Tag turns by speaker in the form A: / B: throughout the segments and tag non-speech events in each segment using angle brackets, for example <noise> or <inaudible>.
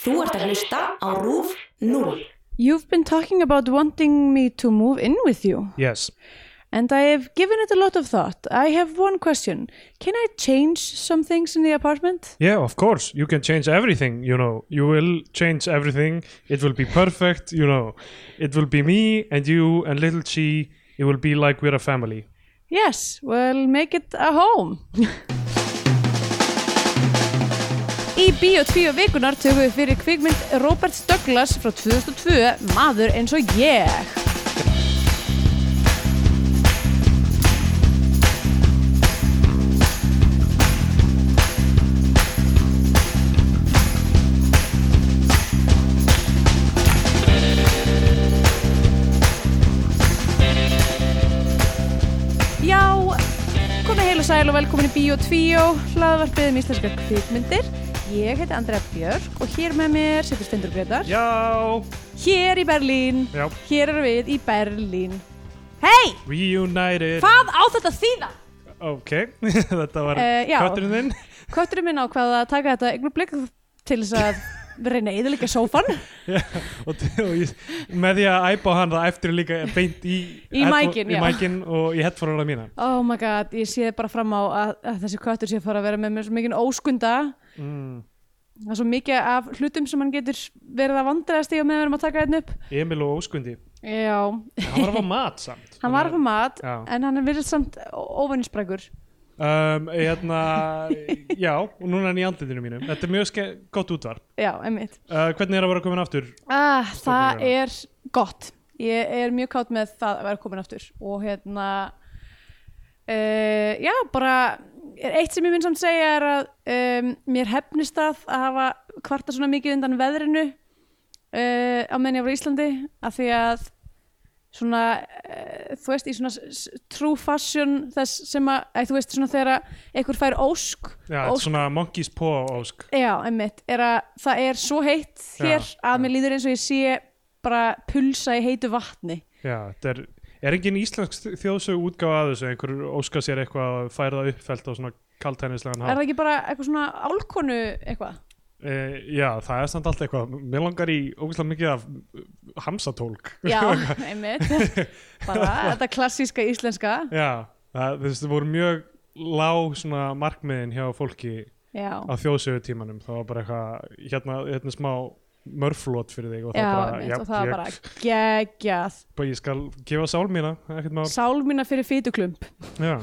A: Þú ert að hlusta á RÚF 0.
B: You've been talking about wanting me to move in with you,
C: Yes.
B: and I have given it a lot of thought. I have one question. Can I change some things in the apartment?
C: Yeah, of course. You can change everything, you know. You will change everything. It will be perfect, you know. It will be me and you and little Chi. It will be like we're a family.
B: Yes, well, make it a home. Í Bíó 2 vikunar tökum við fyrir kvikmynd Robert Douglas frá 2002, Maður eins og ég. Já, komið heil og sæl og velkomin í Bíó 2, hlaðvarpið um íslenska kvikmyndir. Ég heiti Andrea Björk og hér með mér setur Stendur Gretar.
C: Já.
B: Hér í Berlín,
C: Já.
B: hér erum við í Berlín. Hei,
C: Reunited.
B: hvað á þetta að þýða?
C: ok, <laughs> þetta var
B: Eh, já.
C: katturinn
B: <laughs>
C: þinn. <laughs>
B: Kötturinn minn ákvað að taka þetta einhver blikk til þess að reyna að eðalega sófan
C: og, og ég, með því að æpa á hann það eftir líka beint í,
B: Í
C: headfo-
B: mækinn,
C: í
B: já.
C: mækin og í headphone-una mína.
B: Oh my god, ég sé bara fram á að, að þessi köttur sé að fara að vera með mér svo mikið óskunda
C: Mm.
B: Það er svo mikið af hlutum sem hann getur verið að vandræðast í og meðan við erum að taka þetta upp
C: Emil og Óskundi.
B: Já,
C: Hann var að fá mat samt.
B: Hann var að fá mat,
C: Já.
B: en hann er virðist samt óvinnisbrækur.
C: Um, hérna, já, og núna er hann í andlitinu mínu. Þetta er mjög ske- gott útvarp.
B: Já, einmitt.
C: Uh, hvernig er að vera komin aftur?
B: Ah, það
C: Stofnlega.
B: er gott. Ég er mjög kátt með það að vera komin aftur. Og hérna, uh, já, bara, er eitt sem ég minn samt segja er að um, mér hefnist það að hafa kvarta svona mikið undan veðrinu uh, á meðan ég var í Íslandi, af því að svona, uh, þú veist, í svona s- s- true fashion þess sem að, æ, þú veist, svona þegar að einhver fær ósk
C: Já, þetta er
B: Ósk.
C: svona monkey's paw ósk.
B: Já, einmitt, er að það er svo heitt
C: Já,
B: hér að
C: já.
B: mér líður eins og ég sé bara pulsa í heitu vatni.
C: Já, þetta er, er engin íslensk þjóðsög útgáfa að þessu, einhverjur óska sér eitthvað að færa það uppfælt á svona
B: Er
C: kaltænislegan hálf.
B: það ekki bara eitthvað svona álkonu
C: <laughs>
B: eitthvað?
C: Uh, já, það er samt allt eitthvað. Mér langar í ógustlega mikið af uh, hamsatólk.
B: Já, einmitt,
C: <laughs>
B: bara þetta klassíska íslenska.
C: já, það, þessi voru mjög lág svona markmiðin hjá fólki
B: Já,
C: á þjóðsögutímanum. Það var bara eitthvað, hérna, hérna smá mörflót fyrir þig og
B: já,
C: það bara,
B: einmitt, og það
C: ég,
B: var bara geggjað.
C: bara, ég skal gefa sál mína, ekkert mál.
B: Sál mína fyrir fýtuklump.
C: Já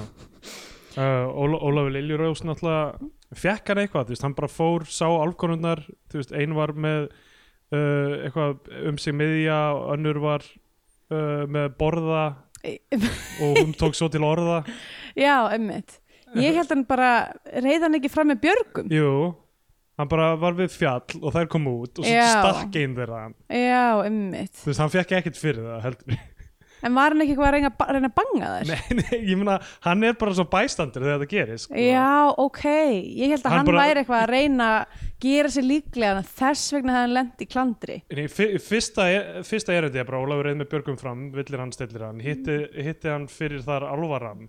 C: uh, Óla, Ólafur Liljurós náttúrulega fekk hann eitthvað, þú veist, hann bara fór sá álfkonunnar, þú veist, ein var með uh, eitthvað um sig miðja og önnur var uh, með borða og hún tók svo til orða
B: <laughs> Já, einmitt. Ég held hann bara, reyðan ekki fram með björgum.
C: Jú, hann bara var við fjall og þær kom út og svo
B: Já.
C: stakk einn þeirra hann,
B: Já, einmitt.
C: þú veist, hann fekk ekkert fyrir það heldur,
B: En var hann ekki eitthvað að reyna, reyna að banga þær?
C: <laughs> nei, nei, ég meina hann er bara svo bæstandur þegar þetta gerist sko.
B: Já, ok, ég held að
C: Hann
B: hann,
C: bara-
B: væri eitthvað að reyna að gera sér líklega en þess vegna hefði hann lent í klandri
C: Nei, fyr- fyrsta, e, fyrsta erindi er bara Ólafur reyð með Björgum fram, villir hann stillir hann hitti, hitti hann fyrir þar alvaran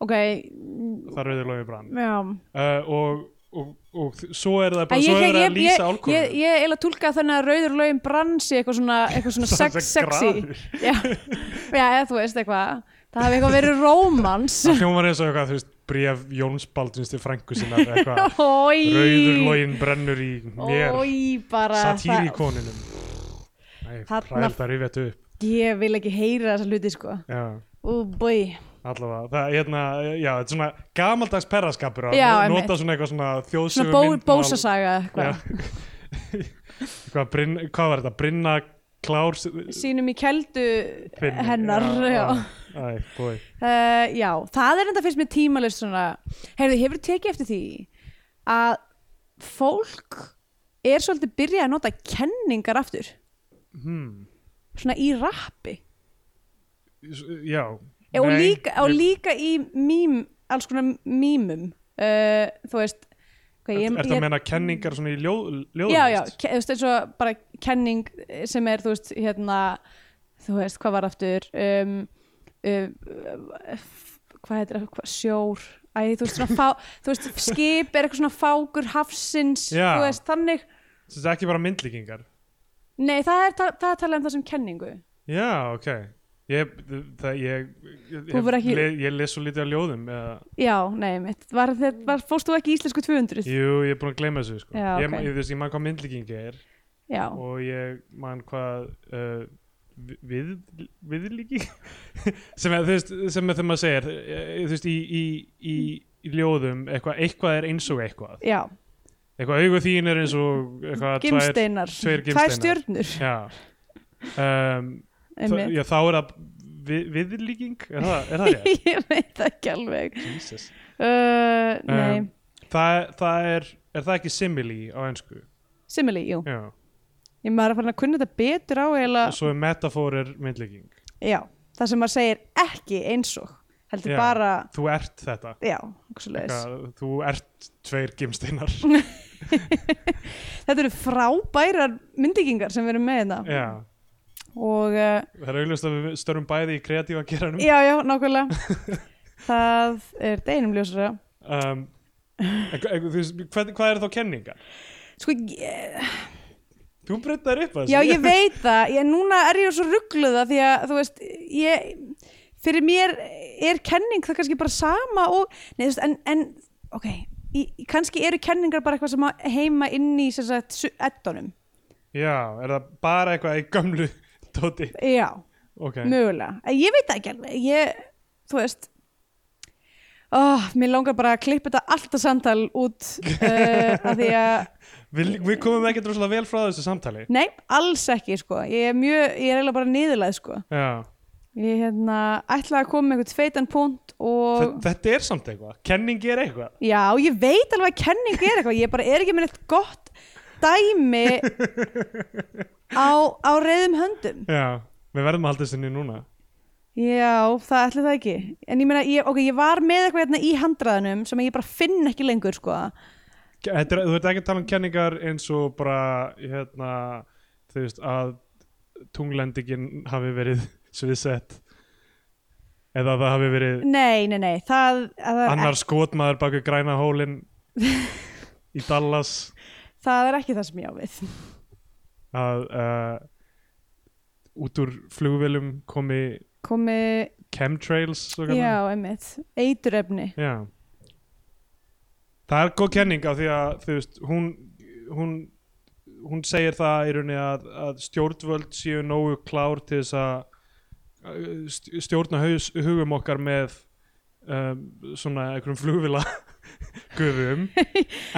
B: Ok, mm,
C: þar rauður lofið brann
B: já
C: uh, og, og, og þ- svo er það
B: En
C: bara,
B: ég,
C: svo er
B: ég, ég,
C: það að
B: ég,
C: lýsa
B: ég,
C: álkonum
B: ég eiginlega túlka þannig að rauður lögin bransi eitthvað svona, eitthvað
C: <laughs>
B: svona
C: Svona
B: sex,
C: sem
B: sexy
C: grafur.
B: já, <laughs> já, eða þú veist eitthvað Það hafi eitthvað verið rómans
C: <laughs> það hljómar eins og eitthvað, þú veist, bréf Jóns Baldvins til frængu
B: <laughs>
C: sinna eitthvað,
B: Ói
C: rauður lofin brennur í mér,
B: Ói, bara það,
C: satírikonunum Nei,
B: Þarna-
C: prælt að rifja þetta upp
B: Ég vil ekki heyra þessa hluti sko
C: Já,
B: Ú, bói
C: allavega, það, hérna, já, þetta er svona gamaldags perraskapur að
B: Já,
C: nota
B: einmitt.
C: svona eitthvað svona
B: Svona
C: þjóðsögu
B: bó,
C: myndmál-
B: bósasaga eitthvað
C: Já. <laughs> Eitthvað brinn, hvað var þetta? Brinna klár þinn
B: sínum í keldu hennar já, já.
C: Æ, búi
B: Uh, já, það er enda fyrst með tímalist svona, heyrðu, hefur tekið eftir því að fólk er svolítið byrjað að nota kenningar aftur
C: hmm.
B: svona í rappi
C: S- Já
B: og,
C: Nei,
B: líka, og
C: ég-
B: líka í mím, alls konar mímum uh, þú veist hvað,
C: Ert ertu að menna kenningar svona í ljóð, ljóðlist?
B: já, já, ke- þú veist, eins og bara kenning eh, sem er, þú veist, hérna þú veist, hvað var aftur um, um, f- hvað heitir, það, hvað, sjór
C: <laughs>
B: æ, þú veist, svona fá, þú veist, skip er eitthvað svona fágur hafsins,
C: Já.
B: þú veist, þannig
C: Þetta er ekki bara myndlíkingar
B: Nei, það er, ta- það er talað um það sem kenningu
C: Já, ok Ég, það, ég, ég,
B: Þú voru ekki-
C: le, ég les svo lítið á ljóðum eða,
B: Já, nei, mitt, var, þe- var, fórst þú ekki í íslensku 200?
C: Jú, ég er búin að gleyma þessu sko.
B: Já, ok.
C: ég, ég, þú veist, ég man hvað myndlíking er
B: Já,
C: og ég man hvað uh, vi- við, viðlíki <laughs> sem, er, þú veist, sem er þegar maður segir eh, þú veist, í, í, í, í ljóðum eitthvað, eitthvað er eins og eitthvað
B: já,
C: eitthvað augu þín er eins og eitthvað tvær,
B: gimsteinar
C: tveir
B: Tvær
C: gimsteinar.
B: stjörnur
C: já. Um, það,
B: einmitt.
C: já, þá er það við, viðlíking er það, er það rétt?
B: <laughs> Ég veit það ekki alveg
C: Jesus
B: uh, Nei,
C: Um, það, það er, er það ekki simili á ennsku
B: simili, jú
C: já.
B: Ég maður að fara að kunna þetta betur á eða,
C: og svo er metafor er myndlíking
B: já, það sem maður segir ekki eins og heldur
C: Já.
B: bara,
C: þú ert þetta
B: já, okkur svo
C: Eitthvað, þú ert tveir
B: <laughs>
C: gimsteinar
B: Þetta eru frábærar myndíkingar sem við erum með þetta
C: já.
B: og uh,
C: það er auðvitað að við störum bæði í kreatífa geranum
B: já, já,
C: <laughs>
B: nákvæmlega það er deginum ljósara
C: um, en, en, þú veist, hvað, hvað er þá kenningar?
B: sko, ég,
C: þú breytar upp að
B: já,
C: <laughs>
B: ég veit það ég, núna er ég svo ruggluða því að þú veist, ég fyrir mér er kenning það kannski bara sama og, nei, þú veist, en, en ok, í, kannski eru kenningar bara eitthvað sem á heima inn í sem sagt, su- eddunum,
C: já, er það bara eitthvað í gömlu tóti
B: já
C: ok,
B: mögulega, en ég veit það ekki alveg ég, þú veist oh, mér langar bara að klippa þetta alltaf samtal út uh, af því að,
C: við, við komum ekki droslega vel frá þessu samtali
B: nei, alls ekki sko, ég er mjög, ég er eiginlega bara niðurlæð sko,
C: já.
B: ég hérna ætla að koma með eitthvað tveitan punkt og,
C: Þe- þetta er samt eitthvað, kenning er eitthvað
B: já, ég veit alveg að kenning er eitthvað, ég bara er ekki með neitt gott dæmi á, á reyðum höndum
C: já, við verðum að halda þessu niður núna
B: Já, það ætli það ekki En ég meina, ég, ok, ég var með eitthvað hérna í handræðanum sem ég bara finn ekki lengur sko.
C: Þetta er, þú ert ekki að tala um kenningar eins og bara hérna, þú veist að tunglendingin hafi verið <laughs> sviðsett eða það hafi verið
B: Nei, nei, nei Það, það, er,
C: annar skotmaður baku græna
B: <laughs>
C: hólin í Dallas
B: ek, það er ekki það sem ég á við
C: að uh, út úr flugvélum komi
B: Komi,
C: chemtrails svo kallað.
B: já, einmitt Eiturefni
C: já það er góð kenning af því að þú veist hún, hún, hún segir það í rauninni að, að stjórnvöld séu nógu klár til þess að uh, st- stjórna haus, hugum okkar með um, svona einhverjum flugvila <laughs> gufum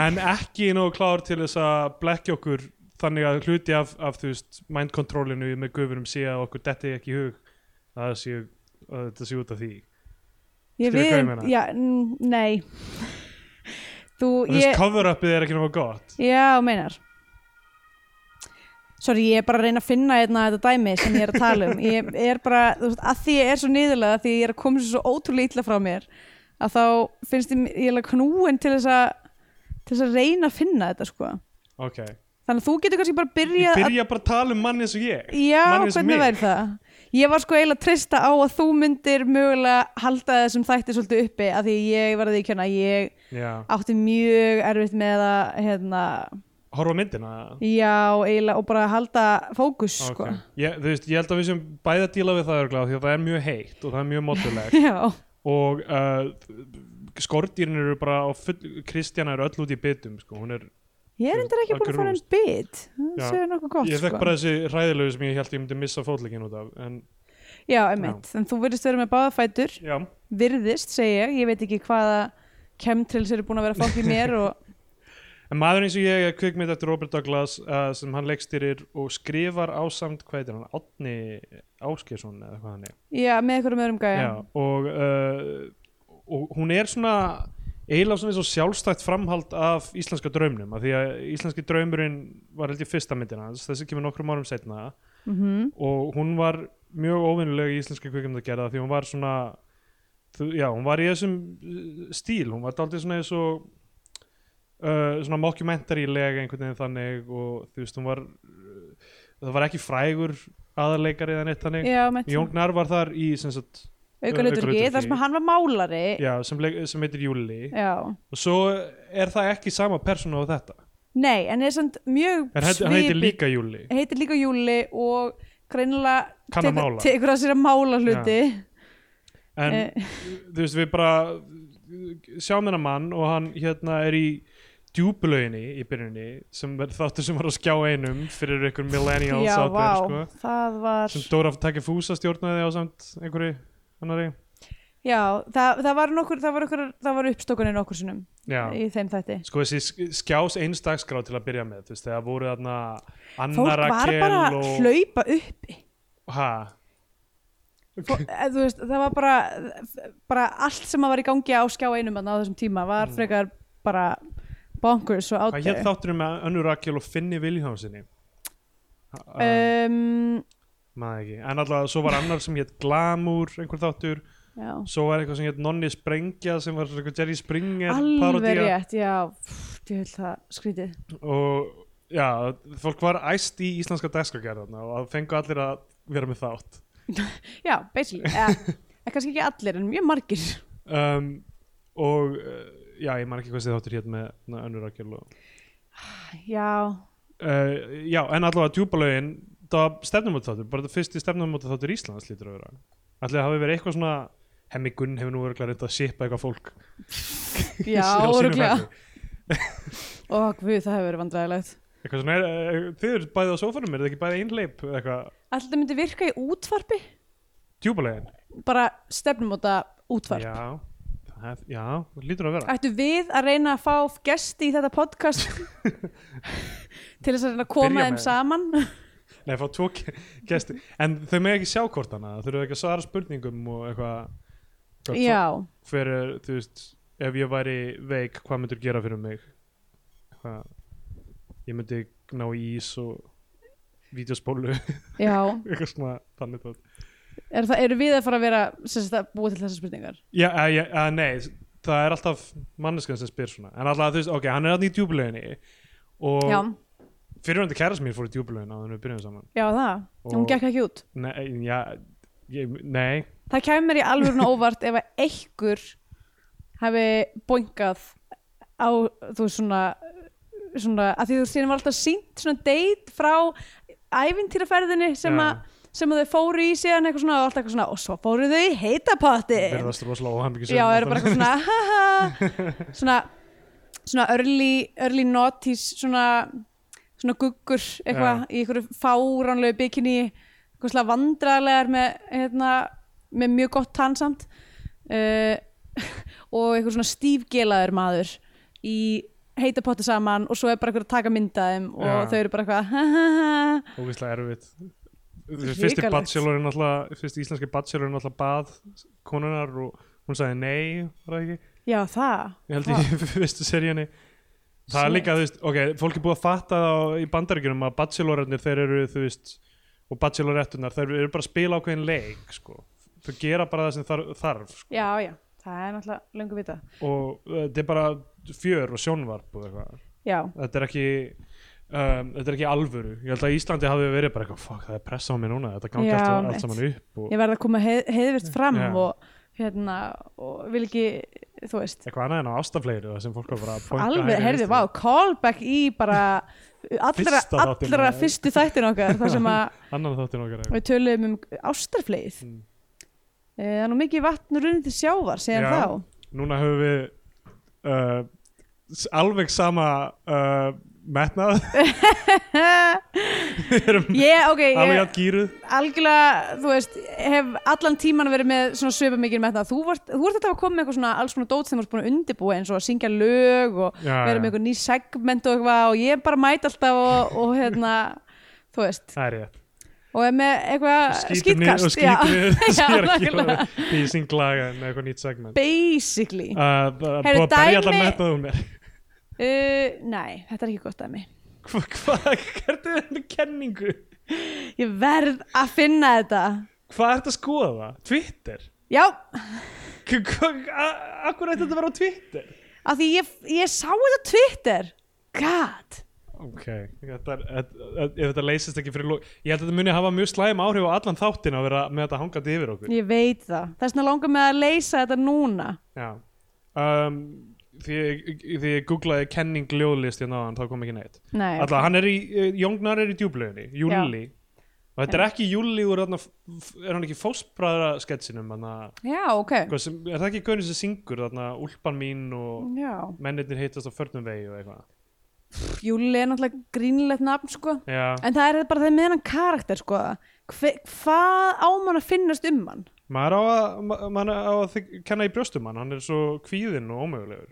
C: en ekki nógu klár til þess að blekja okkur þannig að hluti af, af þú veist mind controlinu með gufunum sé að okkur detti ekki í hug að það séu að þetta sé út af því
B: Ég
C: Skilur hvað ég
B: við- um-
C: meina?
B: Já, n- nei Þú,
C: Og
B: ég
C: Þessi cover-upið er ekki náttúrulega gott
B: Já, þú meinar Sorry, ég er bara að reyna að finna hérna þetta dæmi sem ég er að tala um ég er bara, þú veist, að því ég er svo niðurlega því ég er að koma þessu svo ótrúlega illa frá mér að þá finnst ég, ég er alveg knúin til þess að til þess að reyna að finna þetta sko
C: Ok,
B: þannig að þú getur kannski bara
C: ég
B: byrjað að
C: byrja bara að tala um mann eins og ég
B: Já,
C: mann eins og mig.
B: hvernig væri það? Ég var sko eiginlega að treysta á að þú myndir mögulega halda þessum þætti svolítið uppi að því ég var að því kjöna ég
C: Já,
B: átti mjög erfitt með að hérna,
C: horfa á myndina
B: Já, eiginlega og bara halda fókus sko.
C: Ah, Ok. ég, Þú veist, ég held að við sem bæði að díla við það örgla því að það er mjög heitt og það er mjög
B: <laughs>
C: mótilegt
B: <laughs> Já,
C: og uh, skordýrin eru bara á full, Kristjana er öll út í bitum sko. hún er,
B: ég er endur ekki búin að fara einn bit
C: Já.
B: það séu nokkuð gott
C: ég fekk
B: sko.
C: bara þessi ræðilegu sem ég held ég myndi missa fótleggin út af en
B: Já, emitt, en þú virðist vera með báðafætur
C: já,
B: virðist, segi ég, ég veit ekki hvaða chemtrails eru búin að vera að fá í mér og <laughs>
C: en maður eins og ég er kvikmynd eftir Robert Douglas uh, sem hann leggstýrir og skrifar ásamt hvað heitir hann, Átni Áskersson eða hvað hann er
B: já, með eitthvað með öðrum gæja
C: Já, og, uh, og hún er svona eiginlega svona eins og sjálfstætt framhald af íslenska draumnum af því að íslenski draumurinn var held ég fyrsta myndina hans, þessi kemur nokkrum árum setna
B: mm -hmm.
C: og hún var mjög óvinnulega í íslenska kvikmyndagerða því hún var svona þú, já, hún var í þessum uh, stíl hún var daldið svona eins og uh, svona mockumentarílega einhvern veginn þannig og þú veist hún var uh, það var ekki frægur aðarleikari eða neitt þannig
B: já með
C: Jón Gnar var þar í sem sagt
B: aukaluturki,
C: aukahlutverki.
B: þar sem hann var málari
C: já, sem, leik, sem heitir Júli
B: já,
C: og svo er það ekki sama persóna á þetta
B: Nei, en er samt mjög
C: En hætti- hann heitir líka Júli
B: heitir líka Júli og greinilega
C: Kann að mála.
B: tekur, tekur að sér að mála hluti
C: En
B: Eh,
C: þú veist, við bara uh, sjáum þennan mann og hann hérna er í djúbulauginni í byrjunni sem er þáttur sem var á skjá einum fyrir ykkur millennials
B: Já,
C: out
B: vá,
C: there,
B: það
C: sko,
B: var
C: sem Dóra Takifusa stjórnaði á samt einhverju annari
B: Já, það, það var nokkur, það var, okkur, það var uppstokunin okkur sinnum
C: Já.
B: í þeim þætti
C: Sko þessi sk- skjás einstakskrá til að byrja með þú veist, þegar voru þarna
B: Fólk
C: annara
B: var
C: kel
B: bara að
C: og...
B: hlaupa
C: <laughs>
B: uppi
C: Ha,
B: Fó, eh, þú veist, það var bara, bara allt sem að var í gangi á skjá einum þarna á þessum tíma var
C: Mm.
B: frekar bara bonkers og out
C: Hvað hétt
B: there
C: þátturum með önnur Rakel og Finni Vilhjómsinni? Uh,
B: um,
C: maður ekki, en alltaf svo var annar sem hétt Glamour, einhver þáttur
B: já.
C: svo var eitthvað sem hétt Nonni Sprengja sem var eitthvað Jerry Springer
B: alveg
C: parodía
B: rétt, já ég vil það skrítið
C: og já, fólk var æst í íslenska dagskagerðarna og það fengu allir að vera með þátt
B: já, basically, eh, eh, kannski ekki allir en mjög margir
C: um, og uh, já, ég man ekki hvað þessi þáttur hétt með na, önnur Rakel og,
B: já,
C: uh, já, en allavega djúbalögin það var stefnumóta þáttur, bara þetta fyrsti stefnumóta þáttur Íslands lítur að vera allir að hafi verið eitthvað svona hemmi Gunn hefur nú verið reynda að sipa eitthvað fólk <laughs>
B: já,
C: á sínum
B: öruglega
C: ferli.
B: og guð, það hefur verið vandræðilegt
C: eitthvað svona, er, er, þið eru bæði á sófanum er þetta ekki bæði einleip eitthvað,
B: alltaf þetta myndi virka í útvarpi
C: djúbalögin
B: bara stefnum á þetta útvarp
C: Já, það, já, það lítur að vera
B: ættu við að reyna að fá gesti í þetta
C: <laughs>
B: podcast til þess að reyna að
C: Byrja
B: koma
C: með.
B: þeim saman
C: Nei, fá tvo ge- gesti En þau með ekki sjá hvort hana Þau eru ekki að svara spurningum og eitthvað eitthvað
B: já,
C: hva- Hver er, þú veist Ef ég væri veik, hvað myndir gera fyrir mig? Hvað Ég myndi ná í ís og Vídeospólu,
B: já
C: <laughs> eitthvað svona Þannig þótt
B: er það, eru við að fara að vera sem sagt, að búa til þessar spurningar
C: Já, að, já, að, nei, það er alltaf Manneskan sem spyr svona En alltaf, þú veist, ok, hann er alltaf í djúbuleginni Og
B: já,
C: fyrirvændi kærast mér fór í djúbulegin Þannig við byrjum saman
B: já það, hún
C: Og-
B: gekk ekki út
C: Nei, já, ég, nei
B: það kæmi mér í alvörun óvart ef að einhver hafi boingað á þú veist svona svona, að því þú séðum var alltaf sínt svona date frá ævintýraferðinni sem
C: Já.
B: að sem að þau fóru í síðan eitthvað svona og alltaf eitthvað svona og svo fóru þau í heitapatti
C: verðast rosalega óhæmmingisum
B: Eh. já, eru bara eitthvað svona haha
C: <laughs>
B: svona, svona early, early noughties svona, svona guggur eitthvað í einhverju fáránlegu bikini eitthvað svona vandræðlegar með, hérna, með mjög gott tannsamt uh, <laughs> og eitthvað svona stífgelaður maður í heita potti saman og svo er bara eitthvað að taka myndaðum og
C: Já.
B: þau eru bara eitthvað haha
C: ógeðslega erfitt Þessi fyrsti
B: Hrikalegt.
C: bachelorinn alltaf fyrsti íslenski bachelorinn alltaf bað konunar og hún sagði nei var það ekki,
B: já það
C: ég held í <laughs> fyrstu seríunni það er
B: Shit.
C: líka, þú veist, ok, fólk er búið að fatta það á- í bandaríkjunum að bachelorarnir þeir eru, þú veist, og bachelorettunar þeir eru bara að spila ákveðin leik sko. þau gera bara það sem þarf, þarf sko.
B: já, já, það er náttúrulega löngu vita
C: og uh, þetta er bara fjör og sjónvarp og eitthvað
B: já,
C: þetta er ekki um, þetta er ekki alvöru, ég held að Íslandi hafi verið bara eitthvað, fuck það er pressa á mig núna þetta gangi
B: Já,
C: allt, allt
B: mitt.
C: saman upp og
B: ég verði að koma heið, heiðvirt fram
C: Já.
B: og hérna og vil ekki þú veist
C: eitthvað annað en á ástafleiru það sem fólk var bara að boinka
B: alveg,
C: hægri
B: heyrðu,
C: vinstri.
B: vá, callback í bara allra,
C: Fyrsta þáttinn
B: allra
C: okkar.
B: fyrstu þættin okkar þar sem
C: <laughs>
B: að
C: annan þáttir nokkar
B: við töluðum um ástarfleið
C: Mm.
B: Eh, það er nú mikið vatn runnið til sjávar síðan
C: Já.
B: þá
C: núna höfum við uh, s- alveg sama uh, metnað <laughs>
B: <laughs>
C: við erum
B: ég, ok,
C: alveg
B: ég
C: að gýruð
B: algjörlega, þú veist hef allan tíman verið með svona söpa mikið með þetta, þú vart, þú vart þetta að koma með eitthvað svona alls konar dót sem þú vart búin að undirbúa eins og að syngja lög og
C: Já,
B: vera með
C: já,
B: eitthvað ný segment og eitthvað og ég bara mæt alltaf og, og hérna <laughs> þú veist,
C: það er rétt
B: og er með eitthvað
C: Skítum niður
B: skýtkast
C: og skítum
B: Uh, já. <laughs>
C: niður <laughs> það er ekki
B: nákvæmlega.
C: alveg því ég syng laga en eitthvað nýtt segment uh,
B: basically uh,
C: það er
B: Heyrðu,
C: búið að berja allar
B: dæmi-
C: metnað um mér <laughs>
B: Uh, nei, þetta er ekki gott að mig
C: Hva- hvað, hvert er þetta kenningu?
B: ég verð að finna þetta
C: Hvað ert að skoða? Twitter?
B: já,
C: Akkur ætti þetta að vera á Twitter?
B: af því ég, ég sá þetta á Twitter god
C: Ok, þetta er, ef ef þetta leysist ekki fyrir lók Ég held að þetta muni hafa mjög slæm áhrif á allan þáttin að vera með þetta hangandi yfir okkur
B: ég veit það, þess vegna langar mig að leysa þetta núna
C: Já um, því ég, því ég googlaði kenning ljóðlist hérna á hann, þá kom ekki neitt
B: Nei,
C: Alltaf, hann er í, Jóngnar er í djúblöginni, Júli og þetta er ekki Júli úr þarna, f- er hann ekki fóstbræðra sketsinum, þarna
B: já, ok
C: hvað sem, er það ekki gaunin sem syngur þarna, úlpan mín og
B: Já,
C: mennirnir hittast á förnum vegi og eitthvað
B: Pff, Júli er náttúrulega grínilegt nafn sko
C: Já,
B: En það er bara það með hann karakter sko Hve, Hvað ámann að finnast um hann?
C: maður á að, ma- maður á að þyk- kenna í brjóstum hann, hann er svo kvíðinn og ómögulegur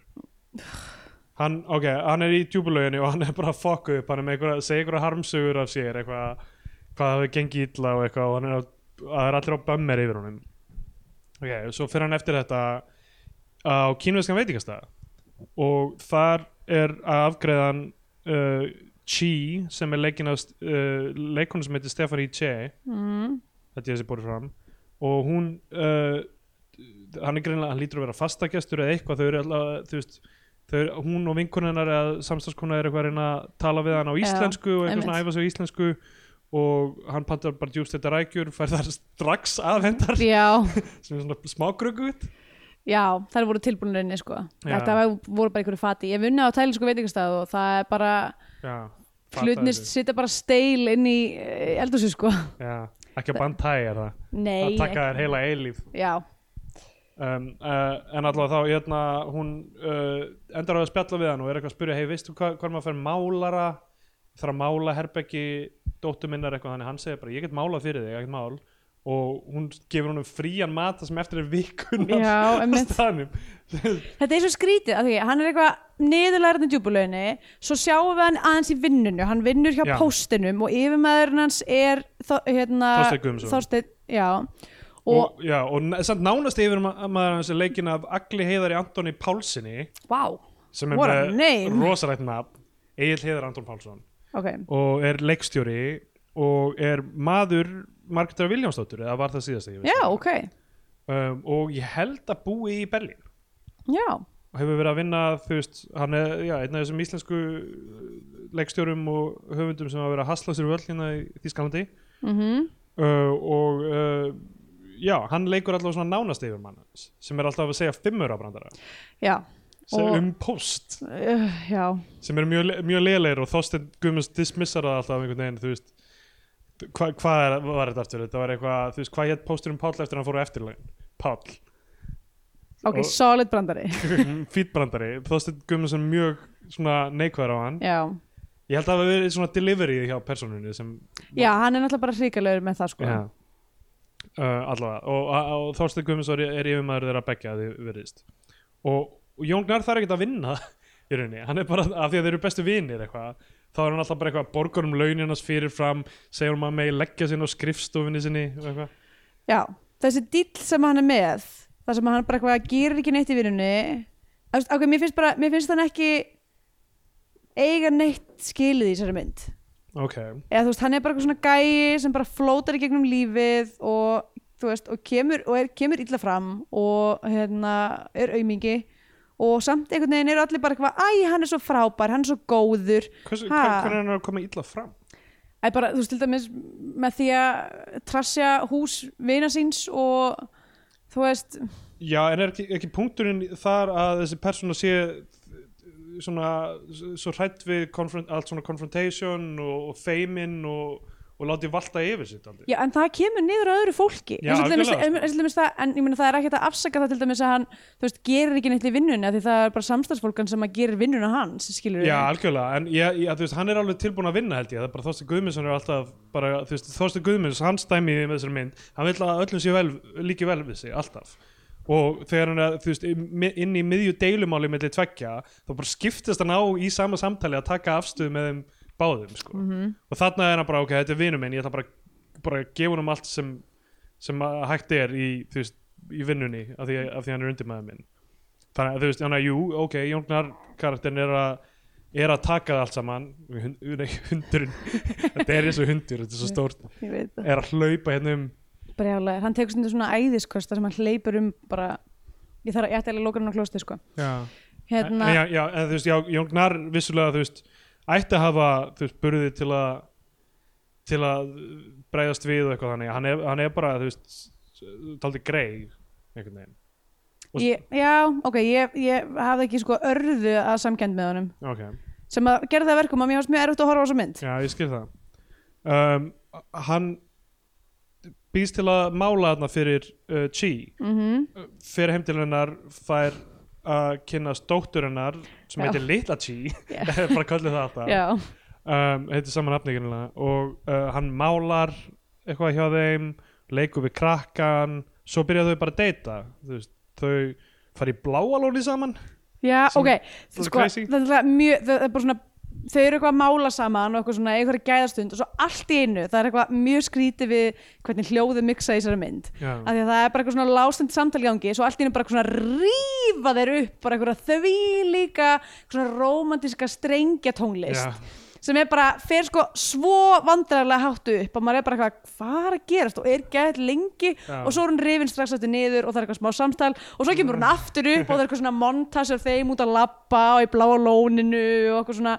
C: Hann, ok, hann er í djúbulöginni og hann er bara að fokka upp, hann er með einhverja, segja einhverja harmsögur af sér, eitthvað, hvað hafi gengið illa og eitthvað og hann er að, að er allir á bömmer yfir honum. Ok, svo fyrir hann eftir þetta á kínveskan veitingastæða og þar er að afgreðan uh, Chi sem er leikin af uh, leikonu sem heitir Stephanie Che
B: Mm.
C: þetta er þessi borið fram og hún uh, hann er greinlega, hann lítur að vera fastagestur eða eitthvað, þau eru alltaf þú veist, þau, eru- hún og vinkunennar eða samstagskona er eitthvað að reyna að tala við hann á
B: Já,
C: íslensku og eitthvað
B: einmitt.
C: svona að æfa sig á íslensku og hann pantar bara djúst þetta rækjur fær þar strax afhendar
B: Já,
C: sem er svona smágröggut
B: já, þær voru tilbúinur inni sko
C: Já.
B: Þetta var- voru bara einhverju fati Ég vunna á tælinsku veitingastæð og það er bara
C: já, fattaði
B: hlutnist
C: þessu.
B: sitja bara steil inn í eldursu sko
C: já, ekki að bandtæi er það
B: Nei,
C: að taka þér heila eilíf
B: ekki- Já,
C: um, uh, en allavega þá hérna, hún uh, endar á að spjalla við hann og er eitthvað að spyrja, hei veistu hva, hvað maður fyrir málara þarf að mála herbeggi dóttur minnar eitthvað, þannig hann segir bara ég get málað fyrir þig, ekkert mál og hún gefur honum frían mat það sem eftir er vikuna
B: Já,
C: á
B: einmitt.
C: staðnum
B: Þetta er svo skrítið, af því hann er eitthvað niðurlæðan í djúbulauðinni, svo sjáum við hann aðeins í vinnunni, hann vinnur hjá
C: Já.
B: póstinum og yfirmaðurinn hans er Þor- hérna,
C: Þorsteinn Guðmundsson.
B: Þorsteinn, já, og,
C: og, já, og ne- samt nánast yfir ma- maður hans er leikin af Agli Heiðari Antoni Pálsini
B: vá,
C: sem er
B: What a
C: með
B: name.
C: rosarætt nafn Egil Heiðar Anton Pálsson
B: ok,
C: og er leikstjóri og er maður Margreðar Viljámsdóttur eða var það síðast
B: já, ok,
C: um, og ég held að búi í Berlín
B: já,
C: og hefur verið að vinna þú veist, hann er já, einn af þessum íslensku uh, leikstjórum og höfundum sem hafa verið að hasla sér völl hérna í Þískalandi
B: mhm,
C: uh, og uh, já, hann leikur allavega svona nánast yfir mann hans, sem er alltaf að segja fimmur á brandara
B: já,
C: sem
B: Og-
C: um post
B: uh, já,
C: sem eru mjög, le- mjög leðilegir og Þorstein Guðmunds dismissar það alltaf einhvern veginn þú veist hva- hvað er, var þetta aftur, þetta var eitthvað þú veist, hvað hétt póstur um Páll eftir að hann fór á eftirlegin Páll
B: <laughs> ok,
C: Og-
B: solid brandari,
C: fítbrandari Þorsteinn Guðmundsson mjög svona neikvæður á hann
B: já,
C: ég held að það hafi verið svona delivery hjá personunni sem
B: já, hann er náttúrulega bara hríkalegur með það, sko,
C: uh, Eh, allavega og, og, og Þorsteinn Guðmundsson er, er yfirmaður þeirra begja því veriðist og, og Jón Gnar þarf ekkert að vinna <laughs> í rauninni, hann er bara af því að þeir eru bestu vinir eitthvað, þá er hann alltaf bara eitthvað borgar um launinans fyrirfram, segir hann að megi leggja sinni á skrifstofinni sinni og eitthvað.
B: Já, þessi dýll sem hann er með þar sem hann bara eitthvað gerir ekki neitt í vinnunni Þú veist, ok, mér finnst bara mér finnst hann ekki eiga neitt skilið í þessari mynd
C: ok,
B: eða þú veist, hann er bara eitthvað svona gæi sem bara flótar í gegnum lífið og þú veist, og kemur, og er, kemur illa fram og hérna er aumingi og samt einhvern veginn eru allir bara eitthvað, æ, hann er svo frábær hann er svo góður
C: Hversu,
B: Ha?
C: hver, hvernig er hann að koma illa fram
B: Æ, bara, þú veist, til dæmis með því að trassja hús vina síns og þú veist,
C: Já, en er ekki, ekki punkturinn þar að þessi persóna sé svona svo hrætt við konfront, allt svona confrontation og, og feimin og, og láti valta yfir sitt aldrei.
B: Já, en það kemur niður á öðru fólki
C: Já,
B: eins og til dæmis,
C: algjörlega, sko.
B: eins og til dæmis það, en ég meina það er ekkert að afsaka það til dæmis að hann þú veist, gerir ekki neitt í vinnunni af því það er bara samstagsfólkan sem að gerir vinnuna hans skilur
C: Já, algjörlega, en ég, ég, þú veist, hann er alveg tilbúin að vinna held ég, það er bara Þorsten Guðmundsson er alltaf bara, þú veist, Þorsten Guðmunds, hans dæmi með þessari mynd, hann vil að öllum sé vel, líki vel við sig, alltaf og þegar hann er, þú veist, im- inn í miðju deilumáli milli tveggja, þá bara skiptist hann á í sama samtali að taka afstöðu með þeim báðum, sko og þarna er hann bara, ok, þetta er vinur minn ég ætla bara, bara að gefa honum allt sem, sem að hægt er í, þú veist, í vinnunni af því, af því hann er undir maður minn þannig að þú veist, þannig að jú, ok, Jóngnar karakterin er að er að taka það allt saman Hun- nei, <laughs> hundurinn, þetta er eins og hundur þetta er svo stórt,
B: ég veit það
C: er að hlaupa hérna um
B: Brjálega, hann tekur stundum svona æðiskvösta sem hann hleypur um bara ég þarf að ég ætti eiginlega að loka hann á klósti sko
C: já, en,
B: hérna,
C: já, já, en, þú veist, já Jóngnar vissulega, þú veist, ætti að hafa þú veist, burði til að til að bregðast við og eitthvað þannig, hann er, hann er bara, þú veist taldi grei, einhvern veginn Og-
B: ég, já, ok, ég, ég hafði ekki sko örðu að samkend með honum
C: ok,
B: sem að gera það að verkum að mér varst mjög erfitt að horfa á þessa mynd
C: já ég skil það um, hann býst til að mála þarna fyrir uh, Chi
B: mm
C: fyrir heim til hennar fær að kynnast dóttur hennar sem
B: Já.
C: heitir Litla Chi
B: Já.
C: <laughs> bara kallið það alltaf
B: já,
C: um, heitir saman hafninginna og uh, hann málar eitthvað hjá þeim leikur við krakkan svo byrja þau bara að deyta þú veist, þau fara í bláalóni saman
B: já,
C: Sem-
B: ok
C: svolítið
B: sko,
C: crazy.
B: það er náttúrulega mjög, það er bara svona þau eru eitthvað að mála saman og eitthvað svona eitthvað gæðastund og svo allt í einu, það er eitthvað mjög skrítið við hvernig hljóðið miksa í þessari mynd
C: já,
B: af því að það er bara eitthvað svona lástend samtalgangi svo allt í einu bara eitthvað svona rífa þeir upp bara eitthvað því líka svona romantíska strengja tónlist
C: já,
B: sem er bara, fer sko svo vandræðarlega háttu upp og maður er bara eitthvað, hvað er að gerast og er gæðið lengi
C: Já.
B: og svo er hún rifin strax eftir niður og það er eitthvað smá samtal og svo kemur hún aftur upp og það er eitthvað svona montas af þeim út að labba og í bláa lóninu og eitthvað svona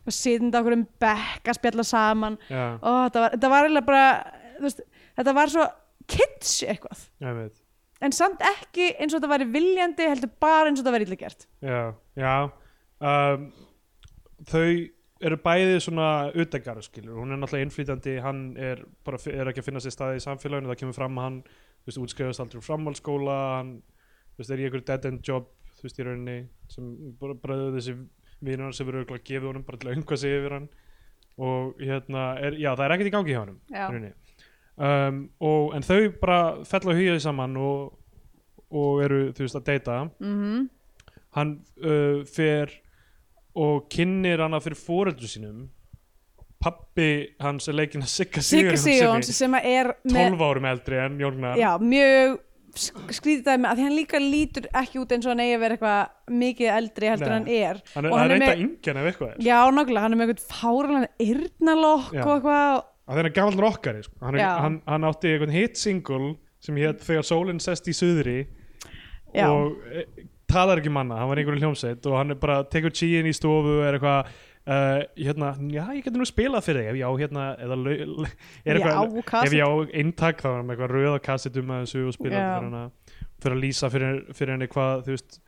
B: að sitnda okkur um bekk að spjalla saman
C: já,
B: og þetta var, þetta var eiginlega bara þú veist, þetta var svo kitsch eitthvað
C: ég veit
B: en samt ekki eins og þetta væri viljandi heldur bara eins og þetta væri illa gert
C: já, já um, þau eru bæði svona utangar skilur, hún er náttúrulega innflýtandi hann er, bara, er ekki að finna sér staði í samfélaginu það kemur fram að hann þú veist, útskrifast aldrei úr framhaldsskóla hann þú veist, er í einhver dead end job þú veist, í rauninni sem bara bræðu þessi vinur hann sem verður örugglega að gefa honum bara til að unga sig yfir hann og hérna, er, já það er ekkert í gangi hjá honum
B: Já.
C: í rauninni. um, og, en þau bara fell að hugja saman og, og eru þú veist að deyta
B: mm -hmm.
C: hann uh, fer og kynnir hana fyrir fóreldru sínum pappi hans er leikinn að Sigga
B: Sigga
C: Sigurjóns
B: Sigjóns sem að er með
C: 12 árum eldri en Jónar
B: já, mjög sk- skrítið dæmi að því hann líka lítur ekki út eins og hann eigi að vera eitthvað mikið eldri heldur
C: Nei.
B: en hann er
C: hann
B: og
C: er, hann
B: hann
C: er
B: er
C: reynda
B: með-
C: yngjan ef eitthvað er
B: já, nákvæmlega, hann er með eitthvað fáralan yrnalokk
C: Já.
B: og eitthvað
C: að það er gamall rockari sko. hann, er,
B: Já.
C: hann, hann átti einhvern hit single sem hétt Þegar sólinn sest í suðri
B: Já.
C: og e, talar ekki manna, hann var í einhvern hljómsveit og hann er bara tekur tíin í stofu og er eitthvað Uh, hérna, já, ég geti nú spilað fyrir þig ef ég á hérna, eða lau- l- er eitthvað,
B: Já, kassett.
C: ef ég á eintak þá er hann með eitthvað rauða kassetum að þessu og spilað
B: Já.
C: fyrir hana, fyrir að lýsa fyrir, fyrir henni hvað, þú veist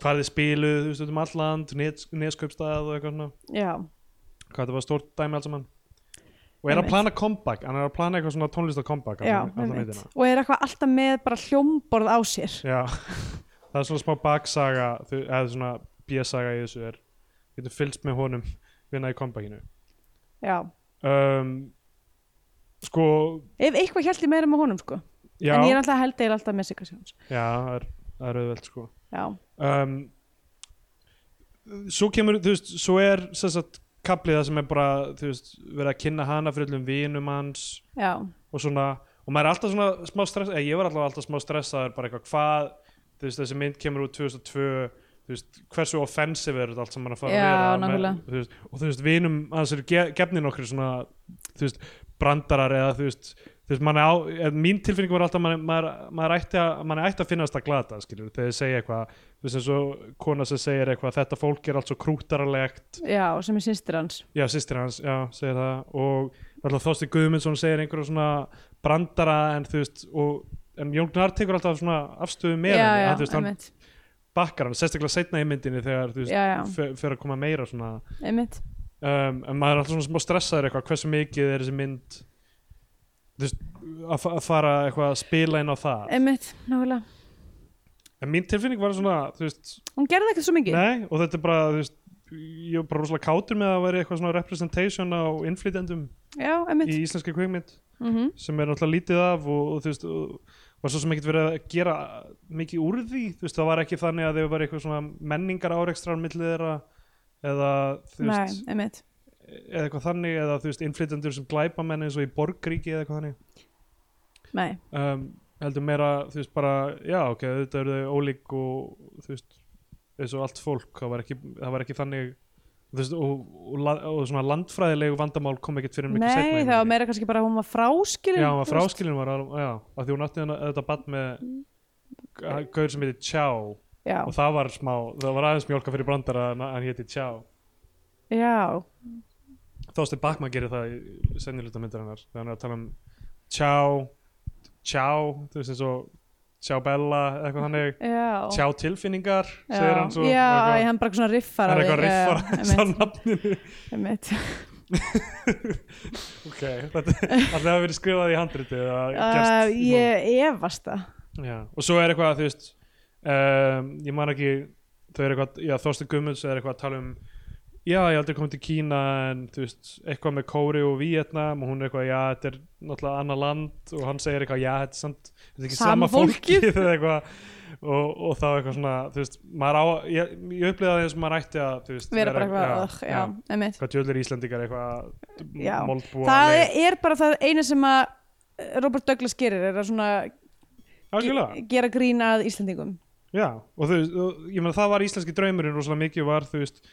C: hvað þið spiluð, þú veist, út um alland neskaupstað og eitthvað svona
B: já,
C: hvað þetta var stórt dæmi alls saman og er
B: Einmitt.
C: að plana comeback, hann er að plana eitthvað svona tónlistar comeback
B: já, einmitt.
C: það
B: og er eitthvað alltaf með bara hljómborð á sér
C: já, <laughs> það er svona smá baksaga þau- eða svona bjössaga í þessu er getur fylgst með honum vinna í comebackinu
B: já,
C: um, sko
B: ef eitthvað held ég meira með honum sko
C: já,
B: en ég
C: já,
B: er alltaf held eil alltaf með Sigga Sigjóns
C: það er, það er auðvelt sko
B: já,
C: um, svo kemur, þú veist, svo er sem sagt kaplið það sem er bara þú veist, verið að kynna hana fyrir öllum vinum hans
B: já,
C: og svona og maður er alltaf svona smá stress eða ég var alltaf alltaf smá stressaður bara eitthvað hvað þú veist þessi mynd kemur úr 2002 þú veist hversu offensive er þetta allt sem maður að fara
B: Já,
C: að vera
B: nákvæmlega.
C: þú veist, og þú veist vinum annars eru ge gefnin okkur svona þú veist brandarar eða þú veist þú veist mann á eða, mín tilfinning var alltaf maður, maður, maður ætti að mann ætti að finnast að glata skilur þegar þið segja eitthvað þú veist eins og kona sem segir eitthvað þetta fólk er allt svo krútaralegt
B: já, sem er systir hans
C: Já, sýstir hans, já, segir það og alltaf Þorsti Guðmundsson segir einhverja svona brandara en þú veist og, en Jón Gnar tekur alltaf svona afstöðu með
B: já,
C: henni,
B: já,
C: að, þú veist, hann
B: einmitt,
C: bakkar hann, sérstaklega setna í myndinni þegar þú veist,
B: Já, já.
C: fer- fer að koma meira svona
B: einmitt
C: um, en maður er alltaf svona smá stressaður eitthvað hversu mikið er þessi mynd þú veist, að, fa- að fara eitthvað að spila inn á það
B: einmitt, nákvæmlega
C: en mín tilfinning var svona, þú veist
B: hún gerði ekkert svo mikið
C: nei, og þetta er bara, þú veist ég var bara rosalega kátur með að vera eitthvað svona representation á innflytendum
B: já, einmitt
C: í íslenski kveikmynd
B: mm
C: sem er náttúrulega lítið af og, og þú veist og var svo sem ekkert verið að gera mikið úr því, þú veist það var ekki þannig að þau var eitthvað svona menningar árekstrar millið þeirra eða þú
B: nei,
C: veist
B: einmitt
C: eða eitthvað þannig eða þú veist innflytjendur sem glæpa menn eins og í borgríki eða eitthvað þannig
B: Nei,
C: um, heldur meira þú veist bara já ok, þetta eru þau ólík og þú veist eins og allt fólk, það var ekki, það var ekki þannig þú veist og, og, og, og svona landfræðilegu vandamál kom ekkert fyrir mikið seinna
B: Nei það
C: í
B: var
C: myndinni.
B: meira kannski bara að hún var fráskilin
C: Já, hún var
B: þú veist.
C: fráskilin var alveg, já, af því hún átti hana, þetta bann með ga- gaur sem heiti Tjá
B: Mm. Já,
C: og það var smá, það var aðeins mjólka fyrir brandara en hann heiti Tjá.
B: já,
C: Þóstir Bakma gerir það í senniluta myndarinnar, þegar hann er að tala um Tjá, Tjá, þú veist eins og sjá Bella eða eitthvað þannig
B: já,
C: sjá tilfinningar
B: já,
C: segir hann svo
B: já,
C: eitthvað-
B: hann bara svona riffar
C: hann
B: á
C: er
B: því,
C: eitthvað
B: já,
C: riffar
B: já,
C: þess að nafninu
B: <laughs> einmitt, einmitt.
C: ok, þetta <laughs> alltaf hafa verið skrifað í handriti eða
B: Uh,
C: gerst í
B: ég efast það
C: bók. já. og svo er eitthvað þú veist um, ég man ekki þau eru eitthvað, já Þorsten Gummulds er eitthvað að tala um já ég aldrei komið til Kína en þú veist, eitthvað með Kóri og Vietnam og hún er eitthvað, já þetta er náttúrulega annað land og hann segir eitthvað, já þetta er samt þetta er ekki
B: Sama
C: sama fólkið <laughs> eða eitthvað og, og þá eitthvað svona, þú veist maður á, ég, ég upplýða það eins og maður ætti að þú veist,
B: vera bara eitthvað, ugh, já,
C: já.
B: einmitt
C: hvað djöðlir Íslendingar eitthvað
B: Já.
C: moldbúa
B: það er, er bara það eina sem að eh, Robert Douglas gerir er að svona
C: algjörlega,
B: ge- gera grína að Íslandingum
C: já og þú veist, og ég meina það var íslenski draumurinn rosalega mikið var, þú veist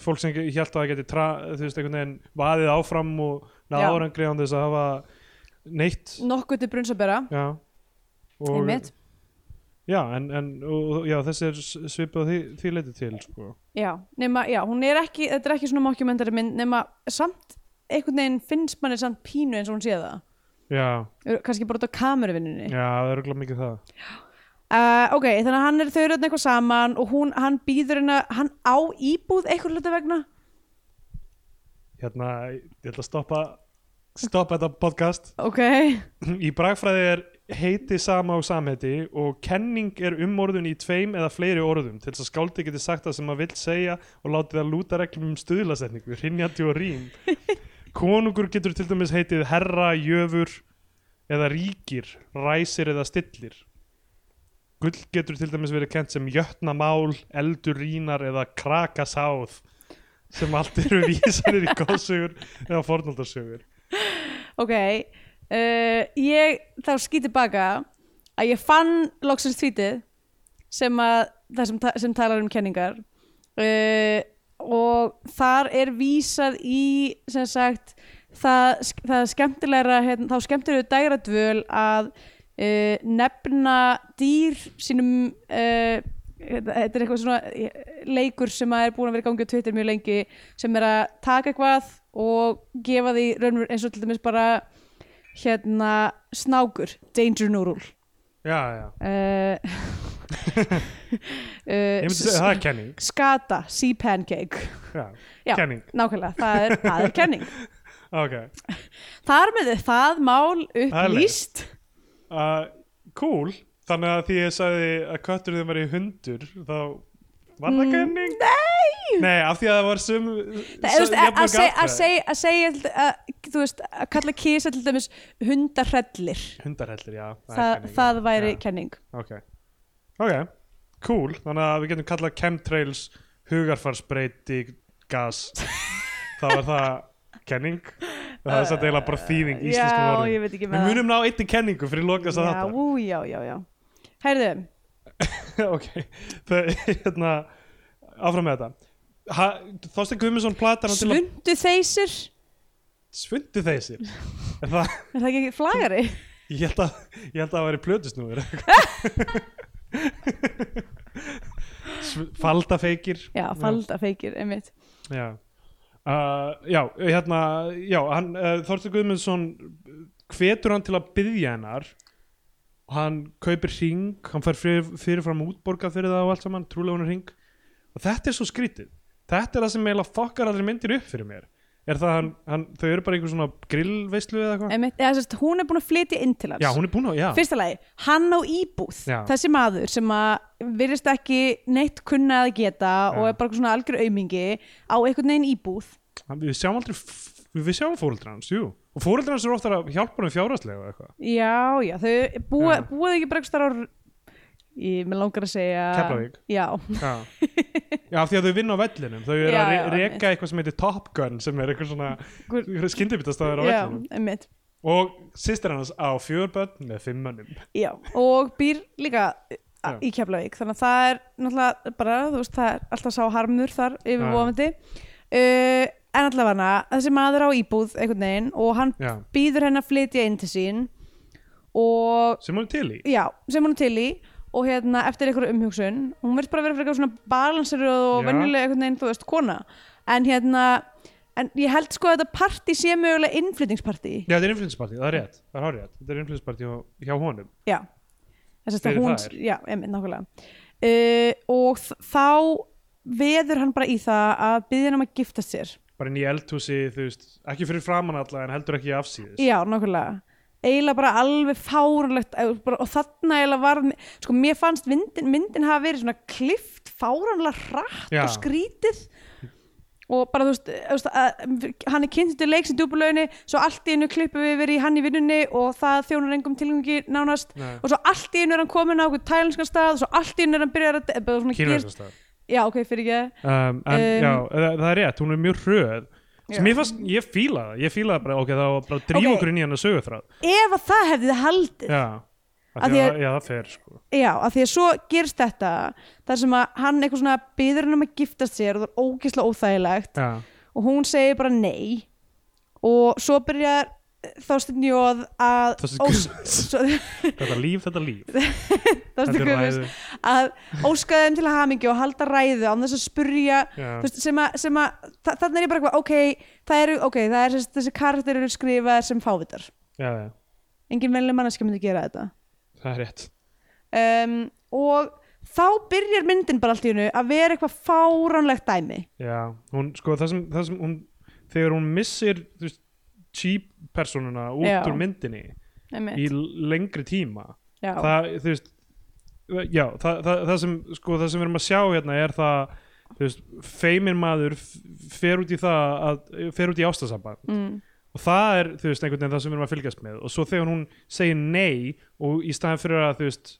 C: fólk sem ekki- held að það geti, tra, þú veist, einhvern veginn vaðið áfram og
B: Já.
C: náður án þess að hafa neitt
B: nokkuð til brunsabera
C: já og,
B: einmitt,
C: já, en, en og, já, þessi er svipað því, því leiti til, sko
B: já, nema, já, hún er ekki þetta er ekki svona mockumentari mynd nema samt, einhvern veginn finnst manni samt pínu eins og hún sé það
C: já,
B: kannski bara út á kameruvinninni
C: já, það er örugglega mikið það
B: uh, ok, þannig að hann er þau eru þarna eitthvað saman og hún, hann býður henni að hann á íbúð eitthvað hluta vegna
C: hérna, ég ætla að stoppa stoppa þetta podcast
B: ok,
C: Í bragfræði er heiti sama og samheiti og kenning er umorðun í tveim eða fleiri orðum til þess að skáldi geti sagt það sem maður vill segja og látið að lúta reglum um stuðlasetningu, rinjandi og rím. Konungur getur til dæmis heitið herra, jöfur eða ríkir, ræsir eða stillir. Gull getur til dæmis verið kent sem jötnamál, eldur rínar eða krakasáð sem allt eru vísanir í góðsugur eða fornaldarsugur.
B: ok uh, ég þá skýt tilbaka að ég fann loksins tvítið sem að það sem, ta- sem talar um kenningar uh, og þar er vísað í sem sagt það, það skemmtilegra hérna, þá skemmtilegu dægra dvöl að uh, nefna dýr sínum uh, þetta þetta er eitthvað svona eh, leikur sem að er búin að vera í gangi á Twitter mjög lengi sem er að taka eitthvað og gefa því raunverð eins og til dæmis bara hérna snákur, danger no rule
C: Já, já.
B: <laughs> uh,
C: Ég
B: uh,
C: myndi segja að það er kenning.
B: skata, sea pancake
C: Já,
B: Já.
C: kenning,
B: nákvæmlega, það er, það er kenning
C: ok
B: þar með er það mál
C: er leið.
B: upplýst
C: uh, Cool, þannig að því ég sagði að köttur þeim verið hundur þá var það kenning Nei, af því að það var sum
B: Mm. Það, þú veist, að- að seg- að seg- að segja til- að, þú veist, að kalla kisa til dæmis hundarhrellir
C: Hundarhellir, já, er
B: það,
C: kenning,
B: það
C: já.
B: væri
C: Já,
B: kenning
C: Ok, ok, cool Þannig að við getum kallað chemtrails hugarfarsbreyti gas
B: <laughs>
C: þá var það kenning það er satt eiginlega bara þýðing í íslenskum
B: já,
C: orðum
B: ég veit ekki
C: Við
B: með
C: munum ná einni kenningu fyrir lokast að
B: það já,
C: þetta
B: ú, já, já, já heyrðu,
C: <laughs> ok, það hérna áfram með þetta ha, Þorstein Guðmundsson platar hann til að
B: slundu þeysir
C: svundi þeysir er það,
B: er það ekki flagari?
C: ég held að ég held að það væri plötusnúður faldafeikir
B: já, falda feikir, einmitt
C: já, uh, já hérna já, hann, uh, Þorstein Guðmundsson hvetur hann til að byðja hennar og hann kaupir hring, hann fær fyrir, fyrirfram útborga fyrir það og allt saman, trúlega hún er hring og þetta er svo skrítið þetta er það sem eiginlega fokkar allir myndir upp fyrir mér er það að hann, hann, þau eru bara einhver svona grillveislu eða eitthvað
B: Einmitt, eða, sérst, hún er búin að flytja inn til hans
C: já, hún er búin að, já,
B: fyrsta lagi, hann á íbúð
C: Já.
B: þessi maður sem að virðist ekki neitt kunna að geta og
C: Já.
B: er bara svona algjör aumingi á einhvern veginn íbúð
C: hann, við sjáum aldrei f- við, við sjáum fóreldra hans, jú og fóreldra hans eru oftar að hjálpa hann fjárhastlega eða eitthvað
B: já, já, þau búa,
C: Já.
B: búið ekki bara ekstra á ég, mér langar að segja
C: Keflavík.
B: já,
C: já, já, af því að þau vinna á vellinum þau eru
B: Já,
C: að
B: já,
C: re
B: einmitt.
C: reka eitthvað sem heitir Top Gun sem er
B: Hver-
C: eitthvað svona skyndibitastæður á
B: já,
C: vellinum
B: einmitt
C: og sýstir hans á fjörbönn með fimm mönnum
B: já, og býr líka
C: Já.
B: a- í Keflavík, þannig að það er náttúrulega bara, þú veist, það er alltaf sá harmur þar yfirvofandi uh, en allavega þessi maður á íbúð einhvern veginn og hann
C: já.
B: býður henn að flytja inn til sín og
C: sem hún er til í
B: já, sem hún er til í og hérna eftir einhverju umhugsun hún verður bara að vera frekar svona balanser og
C: Já.
B: venjulega einhvern veginn, þú veist, kona en hérna, en ég held sko að þetta partí sé mögulega innflytningspartí
C: Já, þetta er innflytningspartí, það er rétt, það er hár rétt Þetta er innflytningspartí hjá, hjá honum
B: já, þess að
C: Fyrir
B: hún,
C: þær?
B: já, einmitt nákvæmlega uh, og þ- þá veður hann bara í það að byggja hann um að gifta sér
C: bara inn í eldhúsi, þú veist, ekki fyrir framann alla en heldur ekki afsýðis
B: já, nákvæmlega eiginlega bara alveg fáranlegt eh, bara- og þarna eiginlega var sko, mér fannst myndin, myndin hafa verið svona klift fáranlega hratt
C: Já.
B: og skrítið og bara þú veist, eh, þú veist að, hann er kynnt til leiks í djúbulauðinni svo allt í einu klippum við verið í hann í vinnunni og það þjónar engum tilgangi nánast
C: Nei.
B: og svo allt í einu er hann komin á okkur tælenskan stað og svo allt í einu er hann byrjar að eh, bara svona gerist-
C: kynverðast það
B: já ok, fyrir ekki
C: um, en
B: Um,
C: já, það, það er rétt, hún er mjög hröð
B: Já.
C: sem ég fannst, ég fíla það ég fíla það bara, ok, það var bara að drífa
B: Ok.
C: okkur inn í hann að sögu þráð
B: ef að það hefði þið haldið
C: já,
B: Af
C: að
B: því
C: því
B: að-
C: að, já, það fer sko
B: Já, af því að svo gerist þetta þar sem að hann eitthvað svona byður hann um að gifta sér og það er ógeðslega óþægilegt
C: já,
B: og hún segir bara nei og svo byrjar Þorstein Jóð að
C: Þorsteinn
B: ós- <laughs>
C: Guðmunds.
B: svo-
C: þetta líf, þetta
B: <laughs>
C: líf
B: Þorsteinn
C: Þetta er
B: Guðmunds
C: ræðu.
B: að óska þeim til að hamingju og halda ræðu án þess að spurja
C: Já.
B: þú veist, sem að, sem að þa- þarna er ég bara eitthvað ok, það eru, ok, það er þessi, þessi karakter eru skrifaðir sem fávitar
C: já, já,
B: engin venlega manneskja myndi gera þetta
C: það er rétt
B: um, og þá byrjar myndin bara allt í hennu að vera eitthvað fáránlegt dæmi
C: já, hún, sko, það sem, það sem hún, þegar hún missir þú veist, cheap personuna út
B: Já.
C: úr myndinni í lengri tíma
B: já,
C: það, þú veist já, það, það, það sem sko, það sem við erum að sjá hérna er það þú veist, feimin maður f- fer út í það að, fer út í ástasamband
B: mm,
C: og það er, þú veist, einhvern veginn það sem við erum að fylgjast með og svo þegar hún segir nei og í staðan fyrir að, þú veist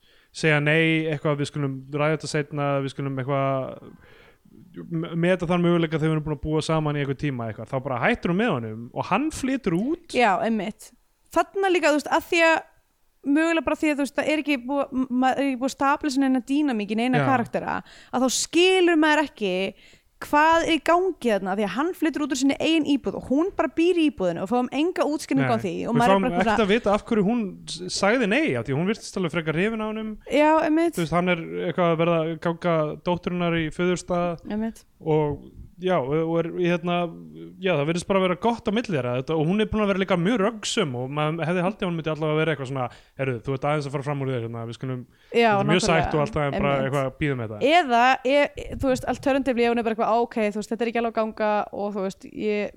C: segja nei, eitthvað, við skulum ræða þetta setna, við skulum eitthvað m- meta þann möguleika þegar við erum búin að búa saman í eitthvað tíma eitthvað, þá bara hættur hún með honum og hann flytur út
B: já einmitt þarna líka, þú veist, að því að mögulega bara því að þú veist, það er ekki búið m- maður er ekki búið að stapla sinna eina dýnamík í neina
C: Já.
B: karaktera, að þá skilur maður ekki hvað er í gangi þarna því að hann flyttur út úr sinni eigin íbúð og hún bara býr í íbúðinu og fáum enga útskynning á
C: Nei.
B: því og
C: við
B: maður
C: fáum
B: er bara
C: ekkert
B: eitthvað
C: að vita af hverju hún s- sagði nei af því hún virtist alveg frekar hrifin á honum
B: svona- já, einmitt,
C: þú veist, hann er eitthvað að verða að ganga dótturinnar í föðurstað
B: einmitt
C: og já, og er, í hérna, já það virðist bara að vera gott á milli þeirra þetta, og hún er búin að vera líka mjög röggsum og maður hefði haldið að hún myndi allavega að vera eitthvað svona herru, þú ert aðeins að fara fram úr þér hérna, við skulum,
B: já,
C: þetta er mjög
B: nákvæmlega,
C: sætt og allt aðeins bara
B: einmitt.
C: eitthvað býðum þetta
B: eða, e, e- þú veist, alternatively ef hún er bara eitthvað, "Á, ok, þú veist, þetta er ekki alveg að ganga og þú veist, ég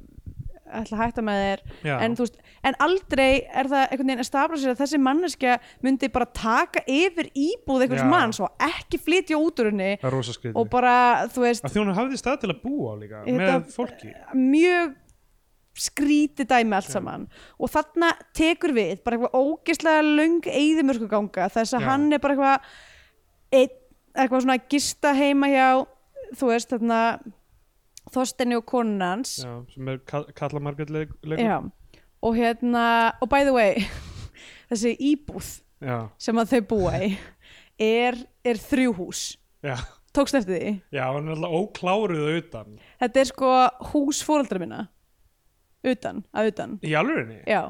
B: ætla að hætta með þér,
C: Já.
B: en þú veist en aldrei er það einhvern veginn að stafla sér að þessi manneskja myndi bara taka yfir íbúð einhvers
C: Já.
B: manns og ekki flytja út úr henni
C: það er rosa
B: og
C: skriði,
B: bara, þú veist
C: af því hún hafði stað til að búa líka,
B: Þetta-
C: með fólki
B: mjög skríti dæmi allt saman og þarna tekur við bara eitthvað ógeðslega löng eyðimörku ganga þess að
C: Já.
B: hann er bara eitthvað einn, eitthvað svona að gista heima hjá þú veist þarna Þorsteini og konun hans
C: já, sem er Ka- Kalla Margrét leik, leikur
B: Já. og hérna og by the way <laughs> þessi íbúð
C: já,
B: sem að þau búa í er, er þrjúhús
C: já,
B: tókst eftir því
C: já, hún er alltaf ókláruð auðan,
B: þetta er sko hús fóraldra minna utan, að utan
C: í alvegurinni
B: já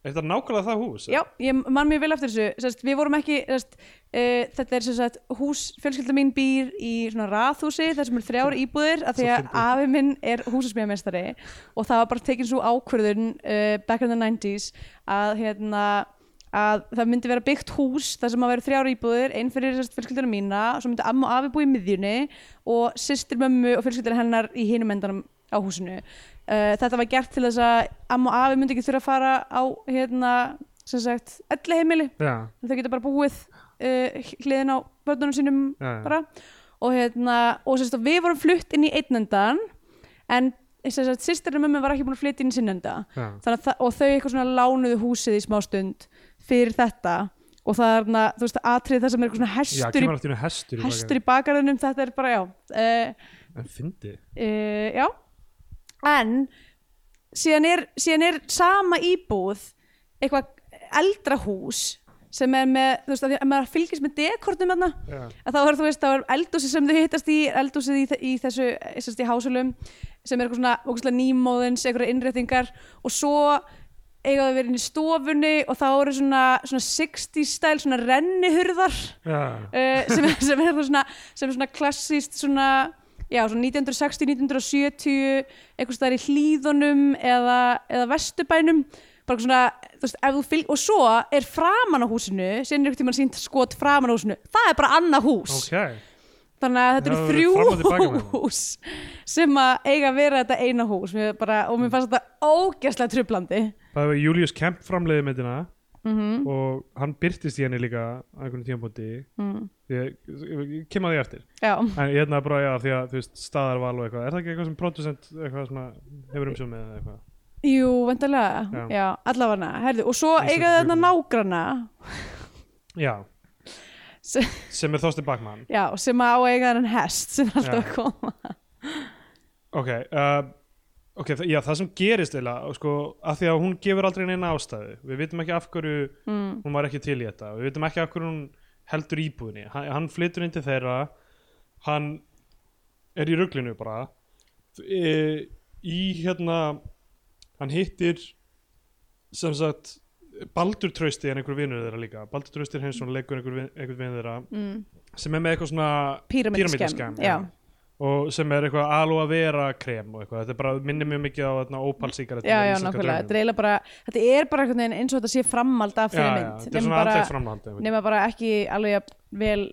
C: er þetta nákvæmlega það hús?
B: Já, ég man mjög vel eftir þessu sest, Við vorum ekki sest, uh, Þetta er sem sagt, hús, fjölskylda mín býr í svona raðhúsi, þar sem eru þrjár íbúðir af því
C: Svo
B: að
C: fyndið.
B: afi minn er húsasmíðameistari og það var bara tekin svo ákvörðun uh, back in the 90s að, hérna, að það myndi vera byggt hús þar sem að vera þrjár íbúðir einn fyrir sest, fjölskyldana mína og svo myndi amma og afi búi í miðjunni og systir mömmu og fjölskyldana hennar í hinum endanum á húsinu uh, þetta var gert til þess að amma og afi myndi ekki þurfa að fara á hérna, sem sagt, elli heimili
C: já.
B: þau geta bara búið uh, hliðin á börnunum sínum
C: Já, já.
B: bara og hérna, og sem sagt, við vorum flutt inn í einn endan en eh, sem sagt, sýstirinn mömmu var ekki búin að flytja inn í sinn enda
C: Já.
B: Þannig að það, og þau eitthvað svona lánuðu húsið í smá stund fyrir þetta og það er þarna, þú veist, atrið það sem er eitthvað svona
C: Já,
B: hestur,
C: kemur allt í einu hestur
B: í, hestur í bakarðunum þetta er bara, já uh,
C: En fyndi
B: uh, já en síðan er, síðan er sama íbúð eitthvað eldra hús sem er með, þú veist, að því að maður fylgist með dekortum þarna,
C: Já,
B: að þá er þú veist þá er eldhúsið sem þau hittast í, eldhúsið í, þe- í þessu, sem sagt í hásulum sem er eitthvað svona, ógustlega nýmóðins einhverja innréttingar og svo eiga það verið inn í stofunni og þá eru svona, svona 60s stæl svona rennihurðar
C: já,
B: uh, sem, sem er það svona sem er svona klassist svona já, svona 1960, 1970 einhvers staðar í hlíðunum eða, eða vesturbænum bara svona, þú veist, ef þú fylg og svo er framan á húsinu, síðan er ykkur tíma sínt skot framan á húsinu, það er bara annað hús
C: ok,
B: þannig að þetta
C: Já,
B: eru
C: það eru fram og tilbaka
B: þrjú <laughs>
C: með það.
B: hús sem að eiga að vera þetta eina hús mér bara, og mér fannst þetta ógeðslega trublandi
C: það var Julius Kemp framleiði myndina og hann byrtist í henni líka á einhvern tímpúti
B: mm.
C: því að, ég- ég kem að því eftir
B: já,
C: en ég hefna bara já því að þú veist staðarval og eitthvað, er það ekki eitthvað sem producent eitthvað sem að hefur umsjón með eða eitthvað
B: jú, vendarlega
C: Já.
B: já, allavega, herðu, og svo
C: Íslensk
B: eiga þetta
C: björgun.
B: nágrana
C: já,
B: Se-
C: sem er Þorstein Bakman
B: já, sem að á að eiga þennan hest sem er alltaf
C: Já.
B: að koma
C: ok, uh, ok þa- já, það sem gerist eða, sko, að því að hún gefur aldrei neina ástæðu, við vitum ekki af hverju
B: mm.
C: hún var ekki til í þetta við vitum ekki af hverju hún heldur íbúðinni hann, hann flytur inn til þeirra hann er í ruglinu bara e, í hérna hann hittir sem sagt Baldur Trausti en einhver vinur þeirra líka Baldur Trausti er hins og leikur einhver, vin- einhver vinur þeirra
B: mm.
C: sem er með eitthvað svona
B: píramidaskem
C: píramídaskem
B: já,
C: og sem er eitthvað aloe vera krem og eitthvað, þetta er bara, minnir mjög mikið á þarna, opalsíkar
B: já, já, nákvæmlega þetta er, eiginlega bara, þetta er bara einhvern veginn eins og þetta sé framald af
C: já,
B: þeirri
C: já,
B: mynd
C: þetta er
B: nema
C: svona
B: bara,
C: andleg framhald einhvern
B: nema bara ekki alveg jafn vel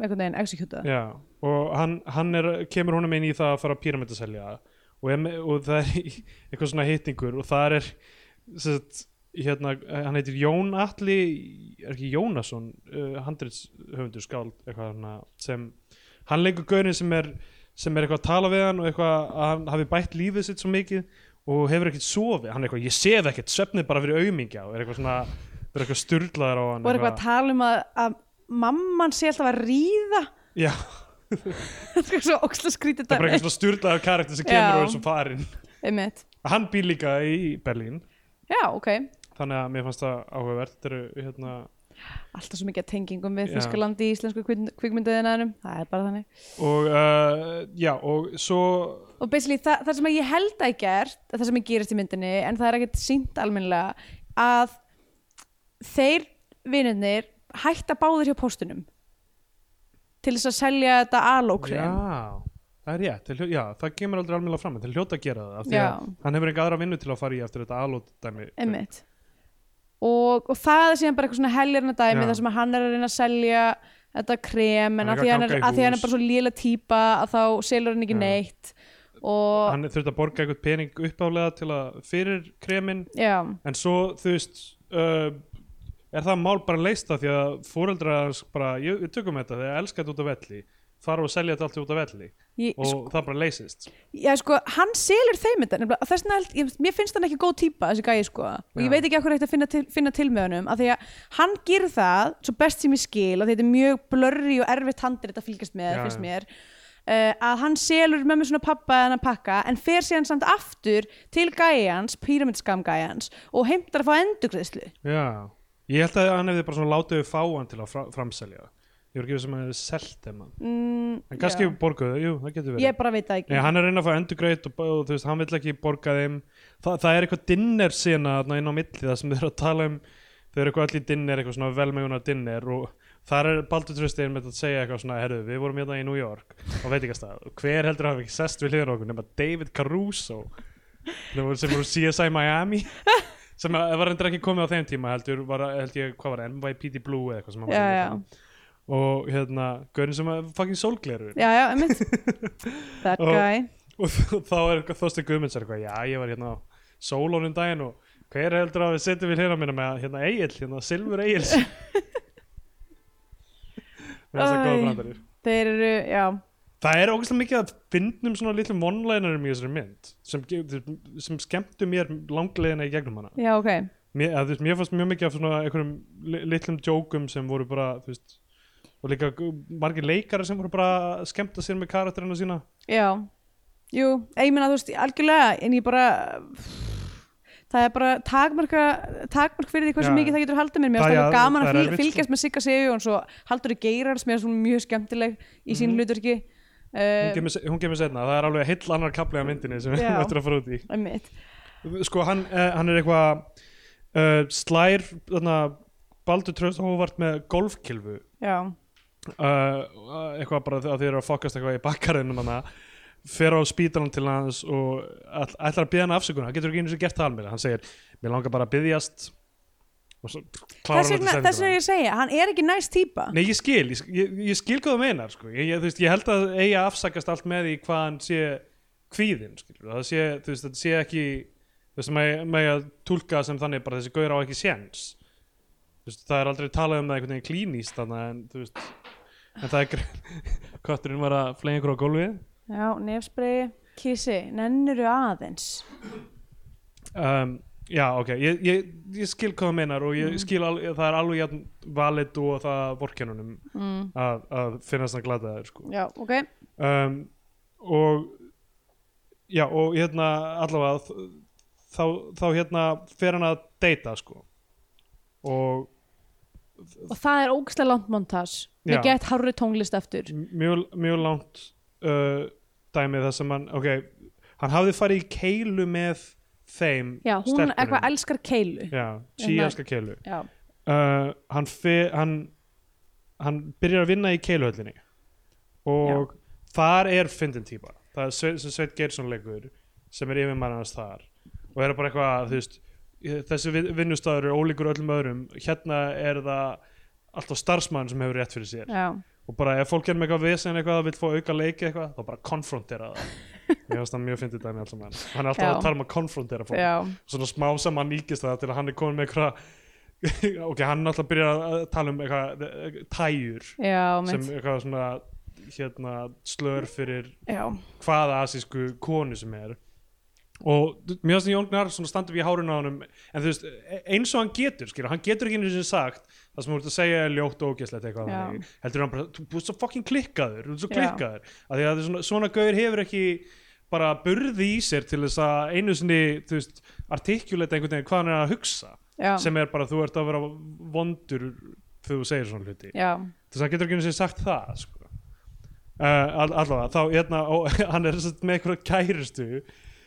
B: einhvern veginn executað
C: Já, og hann, hann er, kemur honum inn í það að fara píramid að selja og, em, og það er <laughs> í- eitthvað svona hittingur og það er sett, hérna, hann heitir Jón Atli er ekki Jónasson uh, handritshöfundur skáld eitthvað hana, sem, hann leikur gaurin sem er sem er eitthvað að tala við hann og eitthvað að hann hafi bætt lífið sitt svo mikið og hefur ekkert sofið, hann er eitthvað, ég sef ekkert svefnið bara fyrir aumingja og er eitthvað svona það er eitthvað sturlaðar á hann
B: og er eitthvað að tala um að, að mamman sé alltaf að ríða <laughs>
C: Já, <laughs>
B: þetta er svo óksla skrítið
C: það er bara eitthvað svona sturlaðar karakter sem
B: Já.
C: kemur og er svo farinn
B: einmitt,
C: hann býr líka í Berlín
B: já ok
C: þannig að mér fannst það áhugavert þetta eru hérna
B: alltaf svo mikið af tengingum við
C: Já.
B: Þískalandi í íslensku kvikmynduðinaðinum það er bara þannig
C: og uh, já og svo
B: og basically það, það sem að ég held að ég gert það sem ég gerist í myndinni en það er ekkert sínt almennilega að þeir vinnunir hætta báðir hjá póstunum til þess að selja þetta alókrem
C: já það er rétt, Þeir hljó- já, það kemur aldrei almennilega fram en þeir hljóta að gera það af því
B: Já.
C: að hann hefur enga aðra vinnu til að fara í eftir þetta alót dæmi
B: Einmitt. Og, og það er síðan bara eitthvað svona heljarna dæmi
C: Já.
B: þar sem að hann er að reyna að selja þetta krem
C: Hann
B: en
C: er
B: að því
C: að
B: hann er,
C: ganga í
B: að því hann er
C: hús.
B: bara svo léla típa að þá selur hann ekki
C: Já.
B: neitt og
C: hann þurfti að borga eitthvað pening uppálega til að fyrir kremin
B: já,
C: en svo þú veist uh, er það mál bara leist það því að fóreldra bara, ég, við tökum þetta, þeir elska þetta út af velli fara og selja þetta allt út af velli
B: ég,
C: og það bara leysist
B: já, sko, hann selur þeim þetta nefnilega, þess vegna, held- ég- mér finnst hann ekki góð típa þessi gæi sko og
C: Já.
B: ég veit ekki hvað hægt að finna til, finna til með honum af því að hann gerir það svo best sem ég skil og þetta er mjög blurri og erfitt handir þetta fylgjast með,
C: Já,
B: finnst
C: já.
B: mér uh, að hann selur mömmu svona pappa en að pakka en fer síðan samt aftur til gæjans, píramidskam gæjans og heimtar að fá endurgreðslu
C: Já, ég held að hann hefði bara svona látið við fá hann til að fra framselja Ég voru ekki sem hann hefði selt þeim hann
B: mm,
C: En kannski
B: já.
C: borguðu, jú, það getur verið
B: ég bara veit það ekki
C: Nei, hann er að reyna að fá endurgreitt og, og þú veist, hann vill ekki borga þeim Þa, Það er eitthvað dinner sena þarna inn á milli það sem þau eru að tala um þau eru eitthvað allir dinner, eitthvað svona velmegunar dinner og þar er Baldur Tröstein með að segja eitthvað svona, herðu, við vorum hérna í New York og veit ekki að stað, hver heldur að hafa ekki sest við hliðin okkur nema David Caruso nema sem voru CSI Miami
B: <laughs>
C: sem að- var endur ekki komið á þeim tíma heldur, var, held ég, hvað var það, NYPD Blue eða eitthvað sem hann
B: já,
C: var
B: já,
C: að leika. og hérna, gaurin sem að fucking sólgleru
B: já, já, einmitt
C: <laughs>
B: that
C: Og-
B: guy
C: og <laughs> þ- þá er eitthvað Þorstein Guðmunds er eitthvað, já ég var hérna á sólónum daginn og hver heldur að við setjum við hérna minna með hérna Egil, hérna Silfur Egil það er
B: Æ.
C: góða brandarir
B: þeir eru, já
C: Það er ógeðslega mikið að fyndnum svona litlum vonlænarum í þessari mynd sem, ge- sem skemmtu mér langlegina í gegnum hana
B: já, ok,
C: mér, að, þú veist, mér fannst mjög mikið af svona einhverjum li- litlum djókum sem voru bara þú veist, og líka g- margir leikara sem voru bara að skemmta sér með karakterina sína
B: Já, jú, ég meina þú veist algjörlega, en ég bara það er bara takmarka takmark fyrir því hversu
C: Já.
B: mikið það getur haldið mér mér
C: Það-
B: finnst alveg
C: já,
B: gaman að
C: það er
B: fylg,
C: erfitt, sko.
B: fylgjast með Sigga Sigjóns og Halldóri Geirars mér er svona mjög skemmtileg í sínu
C: Mhm.
B: hlutverki
C: hún
B: uh,
C: kemur, se- hún kemur setna, það er alveg heill annar kapli af myndinni sem <laughs> við
B: Já.
C: ættir að fara út í
B: einmitt.
C: sko hann, eh, hann er eitthvað uh, slær þarna, Baldur Tröst hóvart með Eh, golfkilfu
B: Já,
C: uh, eitthvað bara að þeir eru að fokast eitthvað í bakkarðinum hana fer á spítalan til hans og all, ætlar að byggja hann afsökunar hann getur ekki einu sem gert það alveg hann segir, mér langar bara að byggjast og svo klárar
B: þess
C: hann
B: vegna
C: þetta
B: þess vegna ég segja, hann er ekki næst típa
C: Nei, ég skil, ég, ég, ég skil hvað þú meinar sko. ég, ég, þú veist, ég held að eiga að afsakast allt með því hvað hann sé kvíðinn skilur. það sé, þú veist, þetta sé ekki þú veist, maður mað að tólka sem þannig bara þessi gaur á ekki séns þú veist, það er aldrei talað um það einhvern veginn klínist þannig en þú veist en það er grein <laughs> kötturinn var að flengi ykkur á gólfið
B: já, nefsbreyi, kísi, nennuru aðeins
C: um, já, ok, ég, ég, ég skil hvað þú meinar og ég skil al, það er alveg jafn valid og það vorkennunum
B: mm.
C: að, að finnast það glataður sko.
B: já, ok
C: um, og já og hérna allavega þ- þá, þá hérna fer hann að deyta sko og
B: og það er ógæslega langt montas
C: Já.
B: við gett hárri tónlist eftir
C: m- mjög, mjög langt uh, dæmið það sem hann ok, hann hafði farið í keilu með þeim
B: já, hún
C: stelpunum.
B: eitthvað elskar keilu
C: já, síaska keilu
B: já,
C: uh, hann, fer, hann hann byrjar að vinna í keiluhöllinni og þar er fyndin típa það er Sve- sem Sveit Geirsson leikur sem er yfirmann hans þar og er bara eitthvað þú veist eh, þessi vin- vinnustaður er ólíkur öllum öðrum hérna er það alltaf starfsmann sem hefur rétt fyrir sér
B: já,
C: og bara ef fólk er með eitthvað vesen eitthvað að vil fá auka leiki eitthvað þá bara konfrontera
B: <laughs>
C: það mér finnst það mjög fyndið dæmi alltaf mann hann er alltaf
B: Já.
C: að tala um að konfrontera fólk
B: já,
C: svona smá sem hann líkist það til að hann er komin með eitthvað <laughs> ok, hann náttúrulega byrjar að tala um eitthvað eh, tæjur
B: já,
C: sem
B: mitt,
C: eitthvað svona hérna, slör fyrir
B: já,
C: hvaða asísku konu sem er og d- mér finnst Jón Gnar svona standa við hárun á honum en þú veist, e- eins og hann getur skilur, hann getur ekki einu sinni sagt það sem þú ert að segja er ljótt og ógeðslegt eitthvað
B: Já.
C: þannig. heldur hann bara, þú þú ert svo fucking klikkaður þú ert svo
B: Já.
C: klikkaður, af því að það er svona, svona gaur hefur ekki bara burði í sér til þess að einu sinni þú veist, artikuleita einhvern veginn hvað hann er að hugsa
B: já,
C: sem er bara, þú ert að vera vondur þegar þú segir svona hluti
B: já
C: þess að hann getur ekki einu sinni sagt það sko. uh, all, allavega þá hérna, ó, <laughs> hann er satt, með einhverja kærustu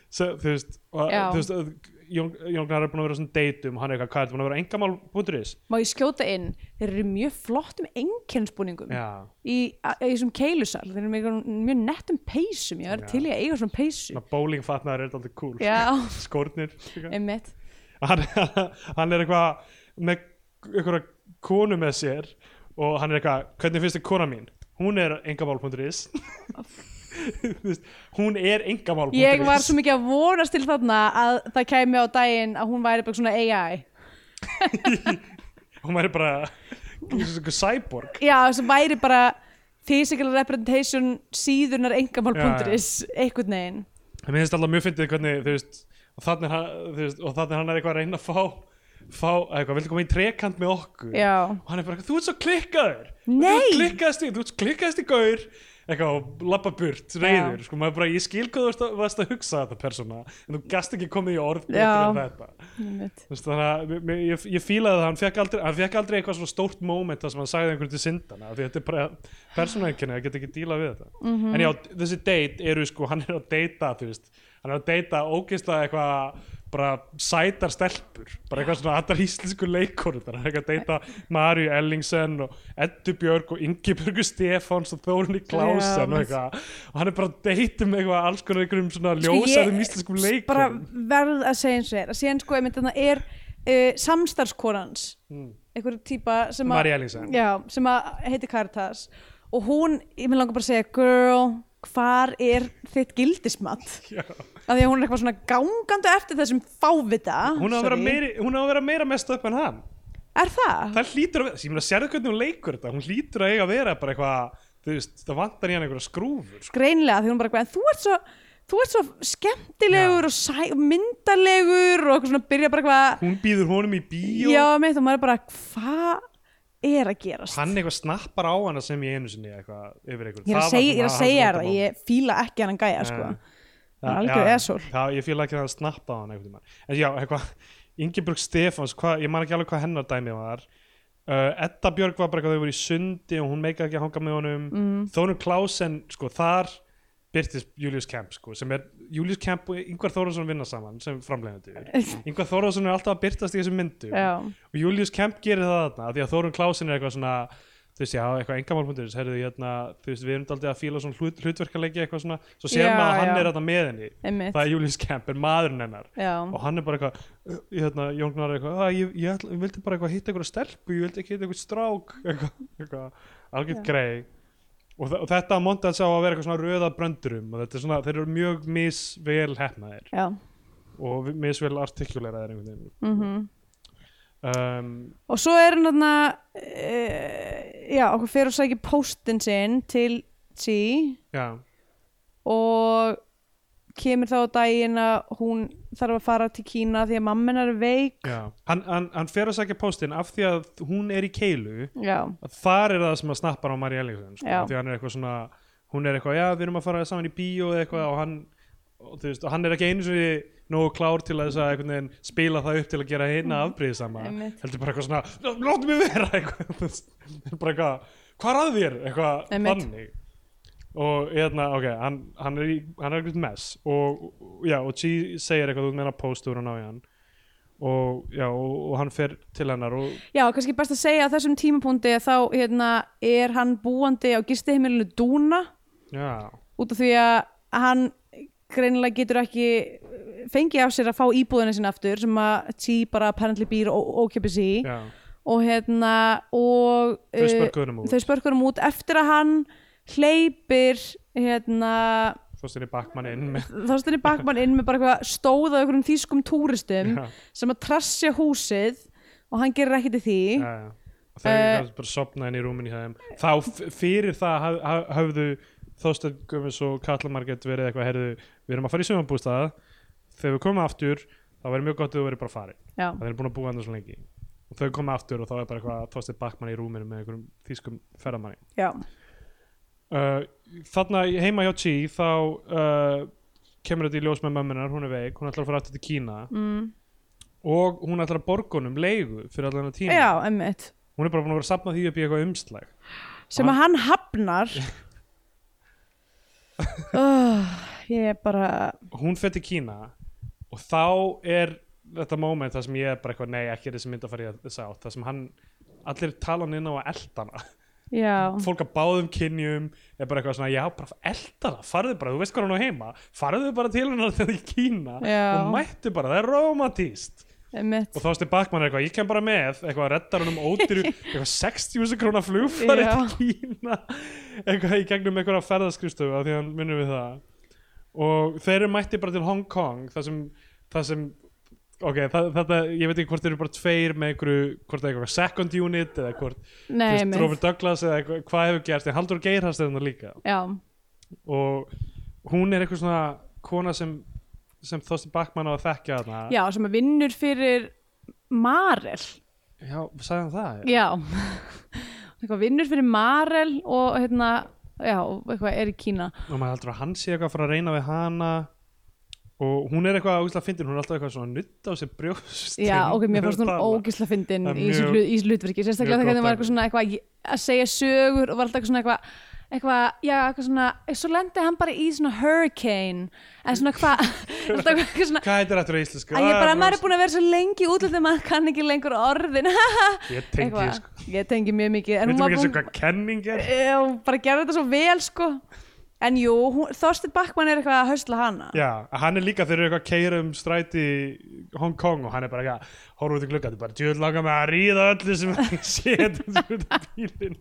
C: sem, þú veist, og,
B: Já.
C: þú veist að Jón Jón Gnar er búin að vera á svona deytum hann er eitthvað, hvað er þetta búin að vera engamál.is
B: má ég skjóta inn, þeir eru mjög flottum einkennsbúningum
C: já,
B: í, a- í þessum keilusal, þeir eru mjög, mjög nettum peysum, ég
C: Já.
B: verði til í að eiga svona peysu
C: svona bowlingfatnaður er alltaf cool
B: já,
C: skórnir líka.
B: einmitt
C: hann, <laughs> hann er eitthvað með einhverja konu með sér og hann er eitthvað, hvernig finnst þið kona mín hún er engamál.is <laughs> Þú veist, hún er engamál.is
B: ég var svo mikið að vonast til þarna að það kæmi á daginn að hún væri bara svona AI
C: hún væri bara eins og einhver cyborg
B: já, sem væri bara physical representation síðunar engamál.is einhvern veginn
C: en mér finnst alltaf mjög fyndið hvernig þú veist og þannig hann, þú veist, og þannig hann er eitthvað að reyna að fá fá, eitthvað, viltu koma í trekant með okkur
B: já,
C: og hann er bara, eitthvað, þú ert svo klikkaður
B: Nei!
C: þú ert klikkaðast í, þú ert klikkaðast í gaur eitthvað og labba burt, reyður sko, maður bara, ég skil hvað þú ert að- varst að hugsa þetta persóna, en þú gast ekki komið í orð betur
B: Já.
C: en þetta
B: einmitt.
C: Þú veist, þannig að mér- mér- ég, ég fílaði það, hann fekk aldrei, hann fekk aldrei eitthvað svona stórt moment þar sem hann sagði einhverjum til syndana af því þetta er bara persónuenginni, það get ekki díla við þetta
B: Mhm.
C: en já, þessi date eru sko, hann er að deyta þú veist, hann er að deyta ógeðslega eitthvað bara sætar stelpur bara eitthvað svona allar íslensku leikonur hann er eitthvað að deyta Marju Ellingsen og Eddu Björg og Ingibjörgu Stefáns og Þórunni Klásen og
B: mitt.
C: eitthvað og hann er bara að deyta með eitthvað alls konar einhverjum svona
B: Sko, ég
C: ljósaðum um íslenskum
B: bara
C: leikonum
B: verð að segja eins og þér að síðan sko, einmitt, þannig er uh, samstarfskorans
C: Hmm.
B: mm. einhver típa sem að
C: Marju Ellingsen
B: já, sem að heiti Caritas og hún, ég vil langa bara að segja girl, hvar er þitt gildismat
C: <laughs> Já.
B: af því að hún er eitthvað svona gangandi eftir þessum fávita
C: hún á að vera
B: Sorry.
C: meiri- hún á að vera meira mest upp en hann
B: er það?
C: það hlýtur að vera, ég meina sérðu hvernig hún leikur þetta hún hlýtur að eiga að vera bara eitthvað þú veist, það vantar í hann einhverja skrúfur sko.
B: greinlega því hún bara eitthvað en þú ert svo, þú ert svo skemmtilegur og sæ, myndalegur og eitthvað svona byrja bara eitthvað
C: hún býður honum í bíó
B: já meitt og maður er bara hvað er að gerast
C: hann eitthvað snappar á hana sem ég einu sinni eitthvað yfir eitthvað
B: ég er að segja, ég er að segja þér það ég fíla ekki hann gæja sko
C: Nei.
B: hann er algjör esól
C: <laughs> já, ég fíla ekki að hann snappa á hann einhvern tímann en já, eitthvað, Ingeborg Stefáns hvað- ég man ekki alveg hvað hennar dæmi var uh, Edda Björg var bara eitthvað þau voru í sundi og hún meika ekki að hanga með honum mm. Þórun Klásen, sko, þar byrtist Julius Kemp, sko, sem er Julius Kemp og Yngvar Þórðarsson vinna saman sem framlegðandi Yngvar Þórðarsson er alltaf að byrtast í þessum myndu
B: já,
C: og Julius Kemp gerir það þarna af því að Þórun Klásen er eitthvað svona þú veist, já, eitthvað engamál.is, herðu, hérna, þú veist, við erum daldið að fíla svona hlut, hlutverkaleiki eitthvað svona, svo sér
B: Já,
C: maður að hann
B: já.
C: er þetta með henni,
B: einmitt
C: það er Julius Kemp, er maðurinn hennar
B: já,
C: og hann er bara eitthvað, uh, hérna, Jón Gnar er eitthvað, "Ah, ég, ég, ætla, ég vildi bara eitthvað hitta eitthvað stelpu, ég vildi ekki hitta eitthvað strák, <laughs> eitthvað, eitthvað, algjörð
B: Já.
C: grei. Og, þa- og þetta montas á að vera eitthvað svona röða bröndurum og þetta er svona, þeir eru mjög misvel hefnaðir
B: já
C: og vi- misvel artikuleraðir einhvern veginn.
B: mhm
C: Um,
B: og svo er hann þarna e, já, okkur fyrir að sækja póstinn sinn til T
C: já,
B: og kemur þá á daginn að hún þarf að fara til Kína því að mammin er veik
C: já. Hann, hann, hann fer að sækja póstinn af því að hún er í keilu,
B: já,
C: að þar er það sem að snappar á Mari Ellingsen sko,
B: Já.
C: af því hann er eitthvað svona hún er eitthvað, já við erum að fara saman í bíó eða eitthvað og hann, og, þú veist, og hann er ekki einu sinni nógu klár til að, þess að einhvern veginn spila það upp til að gera hérna afbrýðið sama
B: Mm. Einmitt.
C: heldur bara eitthvað svona, láttu mig vera <laughs> eitthvað, þú veist, bara eitthvað hvað er að þér, eitthvað
B: Einmitt.
C: þannig og hérna, ok, hann, hann er í, hann er eitthvað mess og, og- já, og Chi segir eitthvað út meina póstur og ná í hann og já, og, og hann fer til hennar og
B: já, kannski best að segja að þessum tímapunkti þá hérna, er hann búandi á gistiheimilinu Dúna
C: já,
B: út af því að hann greinilega getur ekki fengið af sér að fá íbúðina sinna aftur sem að T bara apparently býr og ókjöpis í
C: já
B: og hérna og
C: Þau
B: eh,
C: spörkuðunum út.
B: þau spörkuðunum út eftir að hann hleypir hérna
C: Þorstinni Bakman inn
B: <laughs>
C: með
B: Þorstinni Bakman inn með bara eitthvað stóð á einhverjum þýskum túristum
C: Já.
B: sem að trassja húsið og hann gerir ekki til því
C: Já, já. og þau
B: Eh,
C: uh, bara sopna inn í rúmin í þeim þá f- fyrir það haf- haf- höfðu Þorstein Guðmunds og Katla Margrét verið eitthvað, heyrðu, við erum að fara í sumabústað þegar við komum aftur þá verður mjög gott að þú verður bara farin
B: Já.
C: það er búin að búa andur svo lengi og þau koma aftur og þá er bara eitthvað Þorstein Bakman í rúminu með einhverjum þýskum ferðamanni
B: Já.
C: uh, þarna í- heima hjá Chi þá uh, kemur þetta í ljós með mömmunar, hún er veik, hún ætlar að fara aftur til Kína mm. og hún ætlar að borgunum leigu fyrir allan að tíma
B: Já, emmitt
C: hún er bara búin að vera að sapna því upp í eitthvað umslag
B: sem að hann
C: <laughs>
B: hafnar oh, Ég er bara
C: hún fer til Kína og þá er þetta moment það sem ég er bara eitthvað nei ekki er þessi mynd að fara í þess átt það sem hann, allir tala hann inn á að elda hana
B: Já,
C: fólk að báðum kynjum er bara eitthvað svona já bara elda hana, farðu bara, þú veist hvað hann á heima farðu bara til hennar þetta í Kína
B: Já.
C: og mættu bara, það er romantíst
B: emmitt
C: og þá stið bakmann eitthvað, ég kem bara með eitthvað, reddar hann um
B: <laughs>
C: ódýru eitthvað 60.000 krónar flugfari
B: Já.
C: til Kína eitthvað í gegnum eitthvað ferðaskrifstofu af því að hann minnum við það og þeir eru mætti bara til Hong Kong það sem, það sem ok, það, þetta, ég veit ekki hvort þeir eru bara tveir með einhverju, hvort það er eitthvað second unit eða hvort, þú
B: Nei,
C: veist,
B: emmitt
C: Robert Douglas eða eitthvað, hvað hefur gerst, en Haldur Geirhast er hann líka
B: Já,
C: og hún er eitthvað svona kona sem, sem Þorsti Bakmann á að þekkja þarna
B: Já sem að vinnur fyrir Marel
C: já sagði hann það?
B: Já <laughs> eitthvað vinnur fyrir Marel og hérna Já, og eitthvað er í Kína
C: og maður heldur að hann sé eitthvað að fara að reyna við hana og hún er eitthvað ágæslega fyndin, hún er alltaf eitthvað svona nutt á sér brjóst
B: Já, ok, mér fannst hún ógisla fyndin
C: Það er
B: í þessu
C: mjög-
B: hlut, í þessu hlutverki, sérstaklega
C: mjög
B: þegar
C: gott
B: það var eitthvað
C: dæmi.
B: svona eitthvað að segja sögur og var alltaf eitthvað svona eitthvað eitthvað, já, eitthvað svona, svo lendi hann bara í svona hurricane, eða svona
C: <laughs>
B: hvað alltaf eitthvað svona,
C: Hvað heitir þetta í íslensku?
B: að ég bara,
C: Ah,
B: maður er búin að vera svo lengi í útlöndum að hann kann ekki lengur orðin <laughs>
C: Ég tengi
B: eitthvað,
C: ég sko
B: ég tengi mjög mikið en
C: Veitum
B: hún var
C: ekki þessu
B: búin,
C: hvað kenning er?
B: Eh, hún bara gerði þetta svo vel sko, en jú hún- Þorsteinn Backman er eitthvað að hösla hana
C: Já, hann er líka þeir eru eitthvað að keira um stræti í Hong Kong og hann er bara eitthvað horfa út í glugga, þetta er bara djöð langar með að ríða öllu sem hann
B: <laughs>
C: setjum út af bílinn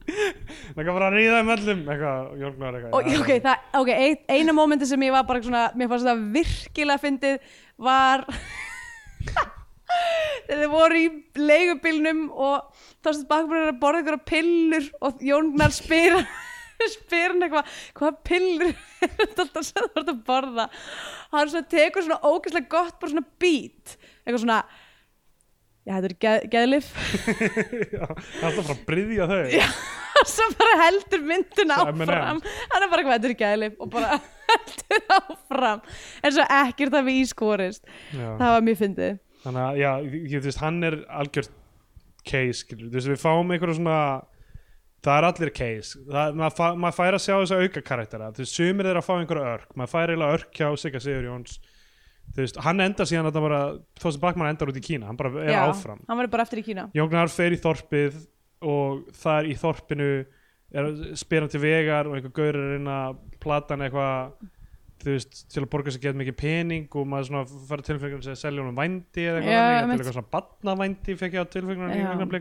C: langar bara að ríða um öllum eitthvað, jólgnar eitthvað
B: og,
C: já,
B: ok, það, ok, ein- eina mómenti sem ég var bara svona, mér fannst það virkilega fyndið var <laughs> þegar þið voru í leigubilnum og Þorsteinn Bakman er að borða ykkur pillur og Jónnar spyr <laughs> spyr hann eitthvað, hvað pillur er þetta alltaf sem þú ert að borða hann svona tekur svona ógeðslega gott bara svona bít, eitthvað svona já, þetta er geð, geðlif
C: <laughs> já, hann er alltaf bara að bryðja þau
B: <laughs> og svo bara heldur myndin
C: Svo M&M.
B: áfram hann er bara hvað þetta er gælif og bara <laughs> heldur áfram en svo ekkert að við ískorist
C: Já.
B: það var mjög fyndið
C: þannig að já, ég, ég- þú veist, hann er algjört case, skilur, þú veist, við fáum einhverja svona, það er allir case það, maður, fa, maður fær að sjá þess að auka karaktera, þú veist, sumir þeir að fá einhverja örk maður fær eiginlega örk hjá Sigga Sigur Jóns þú veist, hann endar síðan að það bara þó sem Bakman endar út í Kína, hann bara er
B: Já,
C: áfram
B: hann var bara eftir í Kína
C: Jógnar fer í þorpið og þar í þorpinu er spyrann til vegar og einhver gaur er að reyna að platan eitthvað þú veist, til að borga sér gett mikið pening og maður svona fara tilfengjum að selja honum vændi eða eitthvað,
B: Já,
C: þannig, eða til
B: einmitt.
C: eitthvað svona batnavændi fekk ég á tilfengjum
B: Já.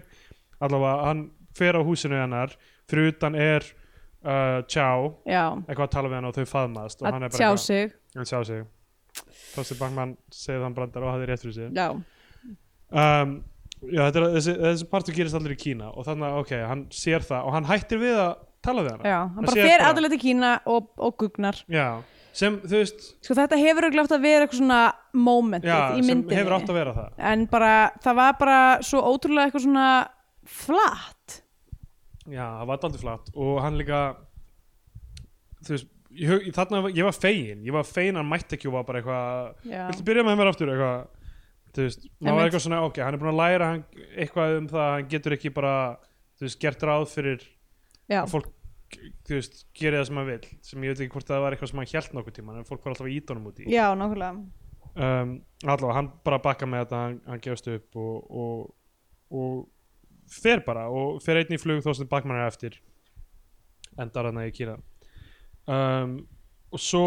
C: allavega, hann fer á húsinu hennar fyrir utan er uh, tjá,
B: já,
C: eitthvað að tala við hann og þau faðmaðast og
B: að
C: hann er
B: tjá
C: bara
B: sig
C: eitthvað að tjá sig Þorsir Bankmann segir þann brandar og hafði rétt fyrir sig
B: já,
C: um, já, þetta er, þessi, þessi partur gerist allir í Kína og þannig að ok, hann sér það og hann hættir við að tala við hana
B: já, hann
C: Hann
B: bara
C: sér
B: fer
C: bara-
B: aðalega til Kína og, og gugnar
C: já sem þú veist
B: sko þetta hefur glátt að vera eitthvað svona momentið
C: já,
B: í
C: sem
B: myndinni
C: hefur átt að vera það
B: en bara, það var bara svo ótrúlega eitthvað svona flatt
C: já, það var aldrei flatt og hann líka þú veist ég, hug- þarna, var- ég var fegin, ég var fegin að hann mætti ekki og var bara eitthvað
B: já,
C: viltu byrja með mér aftur eitthvað þú veist, maður var
B: Einmitt.
C: eitthvað svona ok, hann er búin að læra hann, eitthvað um það að hann getur ekki bara, þú veist, gert ráð fyrir
B: já,
C: að fólk, þú veist, gerir það sem hann vil sem ég veit ekki hvort það var eitthvað sem hann hjælt nokkuð tíma en fólk var alltaf í ídónum út í
B: já, nákvæmlega
C: um, allavega, hann bara bakka með þetta hann, hann gefst upp og, og, og fer bara og fer einn í flug þó sem bakmann er eftir endar hann í Kína um, og svo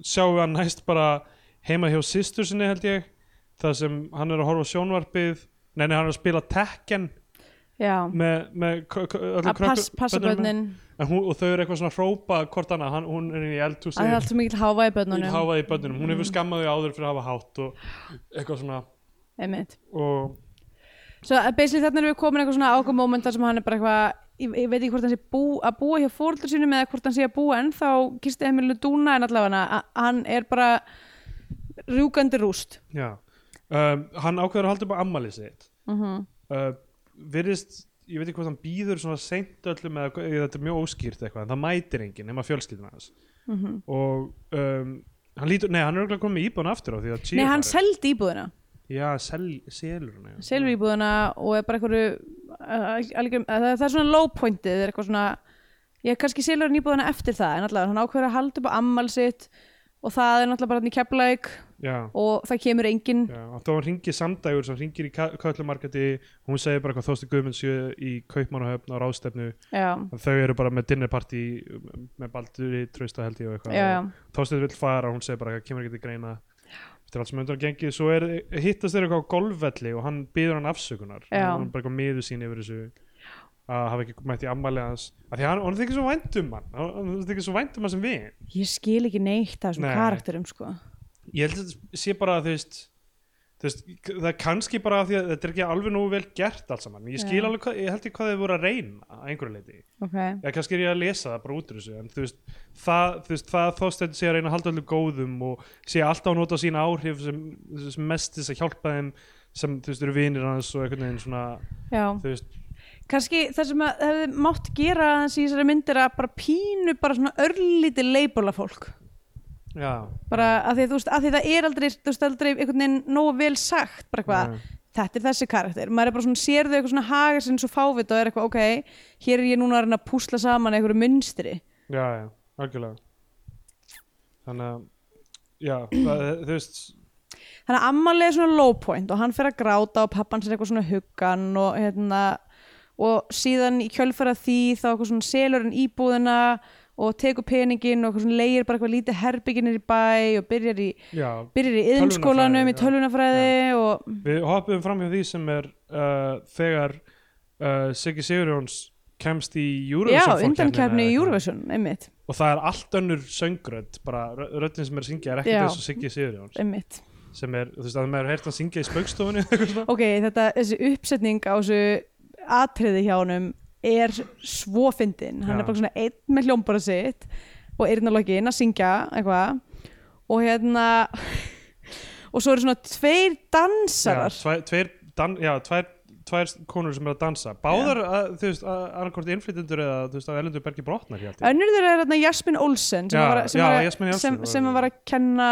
C: sjáum við hann næst bara heima hjá sýstur sinni held ég þar sem hann er að horfa á sjónvarpið nei, nei, hann er að spila Tekken
B: já,
C: með, með k- k- öllum
B: að pass, passa
C: börnunum.
B: börnin
C: En hún, og þau eru eitthvað svona að hrópa hvort annað, hann, hún er í
B: að
C: eldhúsi
B: það er allt svo mikill háfa í
C: í
B: börnunum
C: háfaði í bönnunum, hún hefur skammað þau áður fyrir að hafa hátt og eitthvað svona
B: einmitt
C: og
B: Svo að basically þarna erum við komin eitthvað svona ákveð moment þar sem hann er bara eitthvað, ég, ég veit ekki hvort hann sé bú, að búa hjá fóreldur sínum eða hvort hann sé að búa ennþá gisti Emilu Dúna en allavega hana, a- hann er bara rjúkandi rúst.
C: já um, hann ákveður að halda upp á ammali sitt
B: Mm -hmm.
C: uh, virðist, ég veit ekki hvað hann býður svona seint öllum eða hvað- þetta er mjög óskýrt eitthvað, en það mætir enginn nema fjölskyldina hans
B: Mhm.
C: og um, hann lítur, nei, hann er örugglega kominn með íbúin aftur á því að
B: Nei,
C: Chihiro
B: hann
C: er-
B: seldi íbúðina,
C: já, sel, selur hann já.
B: selur íbúðina og er bara eitthvað, algjör, það, það er svona low pointið, það er eitthvað svona, ég kannski selur hann íbúðina eftir það en allavega hann ákveður að halda upp á ammali sitt og það er náttúrulega bara hann í keflaug
C: já
B: og það kemur enginn
C: Já, og þá hann ringir samdægur sem ringir í köllumarkati hún segir bara hvað Þósti Guðmundsjö í Kaupmannahöfn á ráðstefnu
B: Já,
C: En þau eru bara með dinnerparty með Balduri, Trausta held ég og
B: já, já,
C: eitthvað Þósti vil fara, hún segir bara að kemur ekki til greina eftir allt sem undan að gengi svo er, hittast þeir eitthvað á golfvelli og hann býður hann afsökunar
B: Já.
C: hann er bara eitthvað miður sín yfir þessu að hafa ekki mætt í ammæli hans af því hann, hann þykir svo vænt um hann hann hann þykir svo vænt um hann sem við
B: ég skil ekki neitt af þessum
C: Nei.
B: karakterum sko
C: ég held að þetta sé bara að þú veist þú veist, það er kannski bara af því að þetta er ekki alveg nógu vel gert allt saman ég skil
B: Já.
C: alveg, hvað- ég held ég hvað þau voru að reyna að einhverju leiti,
B: okay.
C: ég kannski er ég að lesa það bara út úr þessu, en þú veist það, þú veist, það þósteinn sé að reyna að halda allir góðum og sé alltaf að nota sín áhrif sem, sem mest til þess að hjálpa þeim sem, þú veist, eru vinir hans og einhvern veginn svona,
B: Já,
C: þú veist,
B: kannski það sem að hefði mátt gera aðeins í þessari myndir að bara pínu bara svona örlíti leibula fólk
C: já
B: bara
C: Mm.
B: að því, að þú veist, að því það er aldrei þú veist aldrei einhvern veginn nógu vel sagt bara eitthvað,
C: Nei.
B: þetta er þessi karakter maður er bara svona, sér þau eitthvað svona haga sinni svo fávita og er eitthvað, ok, hér er ég núna að reyna að púsla saman einhverju munstri
C: já, já, algjörlega þannig að já, það, þú veist
B: þannig að ammalið er svona low point og hann fer að gráta og pappan sér eitthvað svona huggan og hérna og síðan í kjölfara því þá eitthvað svona selur hann íbúðina og tekur peningin og eitthvað svona leigir bara eitthvað lítið herbygginir í bæ og byrjar í,
C: já,
B: byrjar í yðinskólanum í
C: já.
B: tölvunafræði og
C: Við hoppum fram hjá því sem er uh, þegar uh, Siggi Sigurjóns kemst í
B: já,
C: Eurovision
B: undankeppni í Eurovision, einmitt,
C: og það er allt önnur söngrödd bara rö- röddin sem er að syngja er ekki
B: Já.
C: þessu Siggi Sigurjóns
B: einmitt.
C: sem er, þú veist, að maður heirt að syngja í spaukstofunni eitthvað svona.
B: Ok, þetta, þessi uppsetning á þessu atriði hjá honum er svo fyndin hann
C: Já.
B: er bara svona einn með hljómbara sitt og eyrnalokkin að syngja eitthvað og hérna og svo eru svona tveir dansarar
C: Já, tvær, tveir, dan, já, tvær, tvær konur sem er að dansa báðar, að, þú veist, annarkort innflytjendur eða, þú veist, að Erlendur Bergi brotnar hér
B: önnur þeirra er hérna Jasmine Olsen sem,
C: Já,
B: var, að- sem,
C: já,
B: var,
C: Jasmine
B: að-
C: Olsen
B: sem,
C: var-
B: sem var að kenna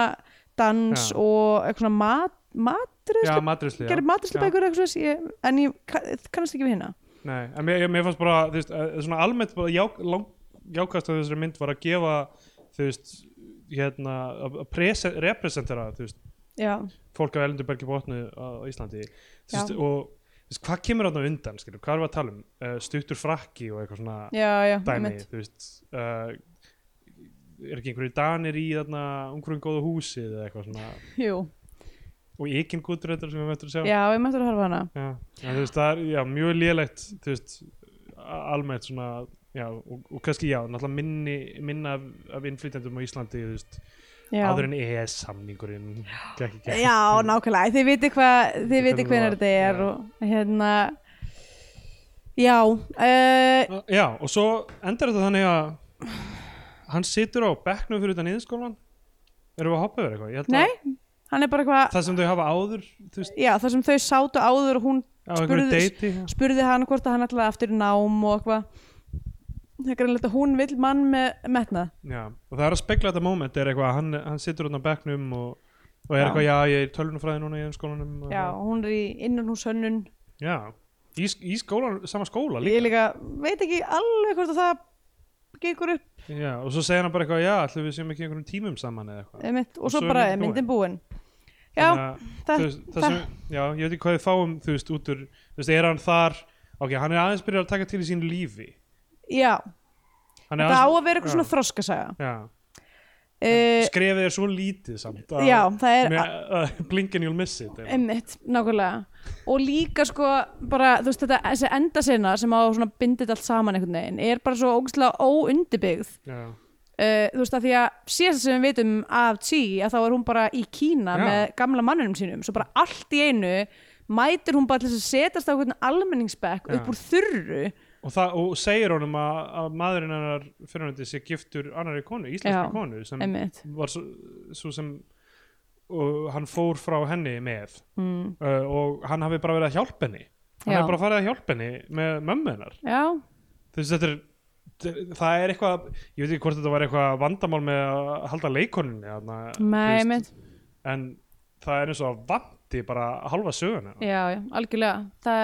B: dans
C: Já.
B: og eitthvað svona mat, matræðslu
C: Já, matrisli
B: gerir
C: Já.
B: matræðslubækur eitthvað svoleiðis, ég, en ég kann- kannast ekki við hérna
C: Nei, en mér, mér fannst bara, þú veist, eh, svona almennt baraják, lang, jákast að þessari mynd var að gefa, þú veist, hérna, að að prese- representera, þú veist,
B: já,
C: fólk af Ellendurbergi botnu á á Íslandi, þú veist,
B: Já.
C: og þú veist, hvað kemur þarna á undan skilur, hvað er við að tala um, uh, stuttur frakki og eitthvað svona
B: já, já,
C: dæmi
B: einmitt.
C: þú veist uh, er ekki einhverju danir í þarna umhverjum góða húsi eða eitthvað svona
B: Jú,
C: og ekki gútur þetta sem við möttum að sjá
B: já, ég mættur að horfa á hana
C: Já, en þú veist, það er já, mjög lélegt þú veist, a- almennt svona já, og, og kannski já, náttúrulega minni, minna af, af innflytjandum á Íslandi þú veist,
B: Já,
C: áður en EES-samningurinn gekk ekki
B: já nákvæmlega, þið viti hvað þið
C: Hvernig
B: viti hvernig
C: var-
B: þetta er
C: já.
B: og hérna Já, uh,
C: Já, og svo endar þetta þannig að hann situr á bekknum fyrir utan yðinskólan erum við að hoppa yfir eitthvað? Ég held að
B: nei, hann er bara eitthvað
C: það sem þau hafa áður þú veist,
B: Já, þar sem þau sátu áður og hún
C: á einhverju
B: Spurðu-
C: deiti já.
B: spurði hann hvort að hann ætlaði aftur í nám og eitthvað það er greinlega að hún vill mann með metnað
C: já, og það er að spegla þetta moment er eitthvað, hann, hann situr utan á bekknum og, og er
B: Já.
C: eitthvað, já, ég er tölvunafræði núna í yðinskólanum og-
B: já, hún er í innanhúshönnun
C: Já, í, sk- í skólan, sama skóla
B: ég
C: líka
B: líka, veit ekki alveg hvort að það gengur upp
C: Já, og svo segir hann bara eitthvað, já, ætlum við séum ekki einhverjum tímum saman eða eitthvað
B: mitt, og
C: Og
B: svo
C: svo er
B: bara er
C: myndin
B: myndin búin já,
C: Þannig að, þú
B: það,
C: veist, það sem, já, ég veit ekki hvað við fáum, þú veist, út úr Þú veist, er hann þar, ok, hann er aðeins byrjað að taka til í sínu lífi
B: já
C: Hann er
B: það á að vera
C: já.
B: eitthvað svona þroskasaga
C: Já,
B: uh,
C: skrefið er svo lítið samt að-
B: já, það er
C: með, að, Blink and you'll miss it eða.
B: Einmitt, nákvæmlega og líka sko bara þú veist þetta þessi endasena sem á svona bindið allt saman einhvern veginn er bara svo ógæslega óundibyggð
C: Já,
B: uh, þú veist að því að síðast sem við vitum af Tí að þá er hún bara í Kína
C: Já.
B: með gamla mannunum sínum svo bara allt í einu mætir hún bara til þess að setjast á einhvern almenningsbekk
C: Já.
B: upp úr þurru
C: og, það, og segir honum að, að maðurinn hennar fyrirhandi sé giftur annari konu, íslenskri
B: Já,
C: konu sem
B: einmitt
C: var svo, svo sem og hann fór frá henni með
B: mm.
C: uh, og hann hafi bara verið að hjálpa henni hann
B: Já.
C: hafi bara farið að hjálpa henni með mömmu hennar
B: já,
C: þú veist þetta er þetta er- það er eitthvað, ég veit ekki hvort þetta var eitthvað vandamál með að halda leikoninni þarna,
B: með
C: þú
B: einmitt
C: veist, en það er eins og að vandi bara halva söguna
B: já, já, algjörlega það,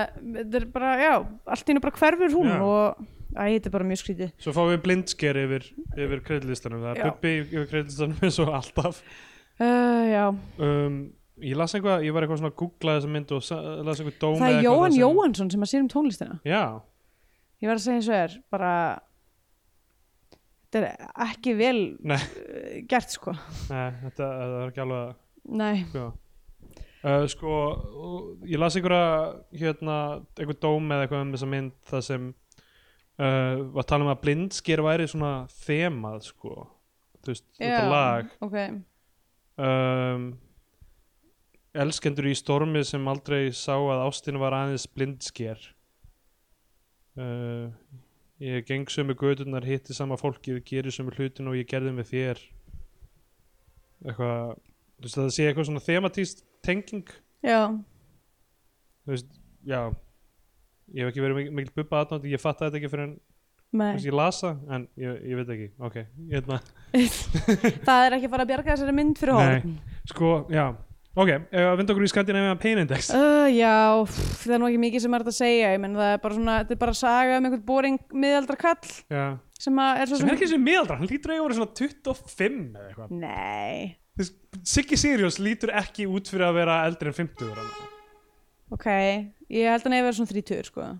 B: það er bara, já, allt í einu bara hverfur hún
C: Já.
B: og æ, þetta er bara mjög skrítið
C: svo fáum við blindsker yfir, yfir kreidlistanum,
B: Já.
C: það er bubbi yfir kreidlistanum eins og alltaf
B: uh, já,
C: um, ég las eitthvað, ég var eitthvað svona að googla þessa mynd og sa- las eitthvað dóm
B: það er
C: eða eitthvað
B: Jóhann
C: þar sem-
B: Jóhannsson sem að sér um tónlistina
C: já,
B: ég var að segja eins og er, bara þetta er ekki vel
C: Nei.
B: eh, gert sko
C: Nei, þetta eh, það er ekki alveg
B: nei
C: já. Uh, sko, og ég las einhverja hérna, einhver dóm eða eitthvað um þessa mynd það sem uh, var að tala um að blindsker væri svona þemað, sko þú veist, þetta lag
B: ok,
C: um, Elskendur í stormi sem aldrei sá að ástin var aðeins blindsker uh, Ég geng sömu gödurnar hitti sama fólkið, gerir sömu hlutin og ég gerði með þér eitthvað þú veist að það sé eitthvað svona thematíst tenging
B: já,
C: þú veist, já ég hef ekki verið mikil, mikil bubba aðnátt ég fatta þetta ekki fyrir en
B: nei
C: ég lasa en ég, ég veit ekki, ok hérna,
B: það er ekki að fara að bjarga þessari mynd fyrir
C: Nei.
B: horn
C: sko, já, ok ef við vind okkur í skandinavíðan pain index
B: <laughs> uh, já, pff, það er nú ekki mikið sem er hægt að segja ég menn það er bara svona, þetta er bara saga um einhvern boring miðaldra kall
C: já
B: sem að er svo
C: sem er ekki sem miðaldra, hann lítur eiginlega svona 25 eða eitthvað.
B: nei,
C: Þú veist, Siggi Sirius lítur ekki út fyrir að vera eldri en 50 vera.
B: ok ég held að nefnir verið svona 30 sko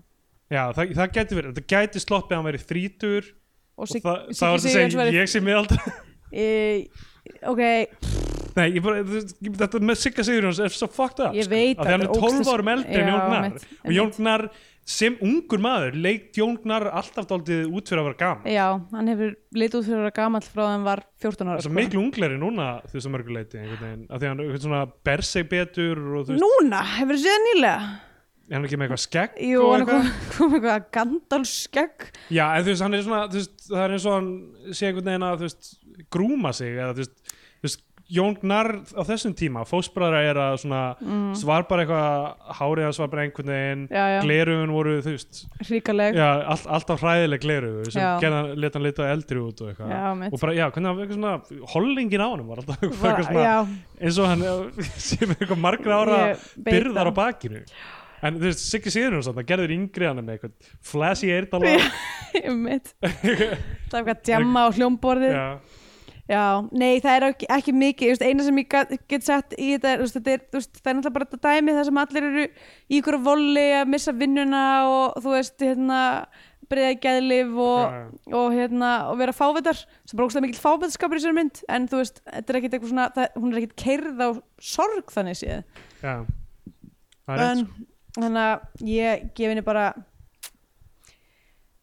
C: Já, það, það gæti verið, þetta gæti sloppið að hann verið 30
B: og
C: og
B: sig,
C: það,
B: Siggi
C: það var það að
B: Sigurjóns
C: segja
B: verið-
C: ég sé miðaldra.
B: e,
C: <laughs>
B: ok,
C: Nei, ég bara, þú veist, þetta með Sigga Sirius er svo fucked up.
B: Ég veit
C: að hann
B: þetta
C: er
B: er
C: 12
B: ógeðslega-
C: árum eldri en
B: Já,
C: Jón Gnar.
B: einmitt,
C: Og Jón Gnar sem ungur maður leikt Jón Gnar alltaf daldið út fyrir að vera gaman.
B: já, hann hefur litið út fyrir að vera gamall frá þeim var 14 ára sko.
C: Það er miklu ungleri núna þú veist að mörgu leiti einhvern veginn, af því að hann einhvern svona ber sig betur og þú veist,
B: núna, hefur þið séð nýlega
C: er hann ekki með eitthvað skegg
B: jú,
C: og
B: hann
C: eitthvað?
B: kom, kom eitthvað gandalskegg
C: Já, en þú veist, hann er svona, þú veist, það er eins og hann sé einhvern veginn að, þú veist, grúma sig eða, þú veist, þú veist Jón Gnarr á þessum tíma, fósbræðra er að svona, svar bara eitthvað hárið hans var bara einhvern veginn
B: Mm. já, já,
C: gleruðun voru, þú veist,
B: hríkaleg
C: já, all, alltaf hræðileg gleruðu sem
B: Já.
C: gerðan, leta hann lita eldri út og eitthvað
B: Já, mitt.
C: og bara, já, hvernig hann, eitthvað svona, hollingin á honum var alltaf eitthvað,
B: Bara-
C: svona,
B: já,
C: eins og hann <laughs> eh, sé með eitthvað margra ára
B: ég veit
C: byrðar á
B: það.
C: bakinu en þú veist, Siggi Sigurjónsson, það gerður yngri hann með eitthvað
B: <laughs>
C: flashy eirdala <laughs>
B: Einmitt. það er eitthvað djamma á hljómborðið
C: Já,
B: Já, nei, það er ekki, ekki mikið, þú veist, eina sem ég gat, get sett í þetta, þú veist, þetta er, þú veist, það er náttúrulega bara þetta dæmi þar sem allir eru í ykkur voli að missa vinnuna og þú veist, hérna, breyða í geðlif og,
C: Já,
B: og hérna, og vera fávitar, sem bara ógstlega mikill fávitarskapur í sér mynd, en þú veist, þetta er ekkit eitthvað svona, það, hún er ekkit keirð á sorg þannig séð,
C: já. Það er
B: en,
C: rétt, sko.
B: þannig að ég gef henni bara,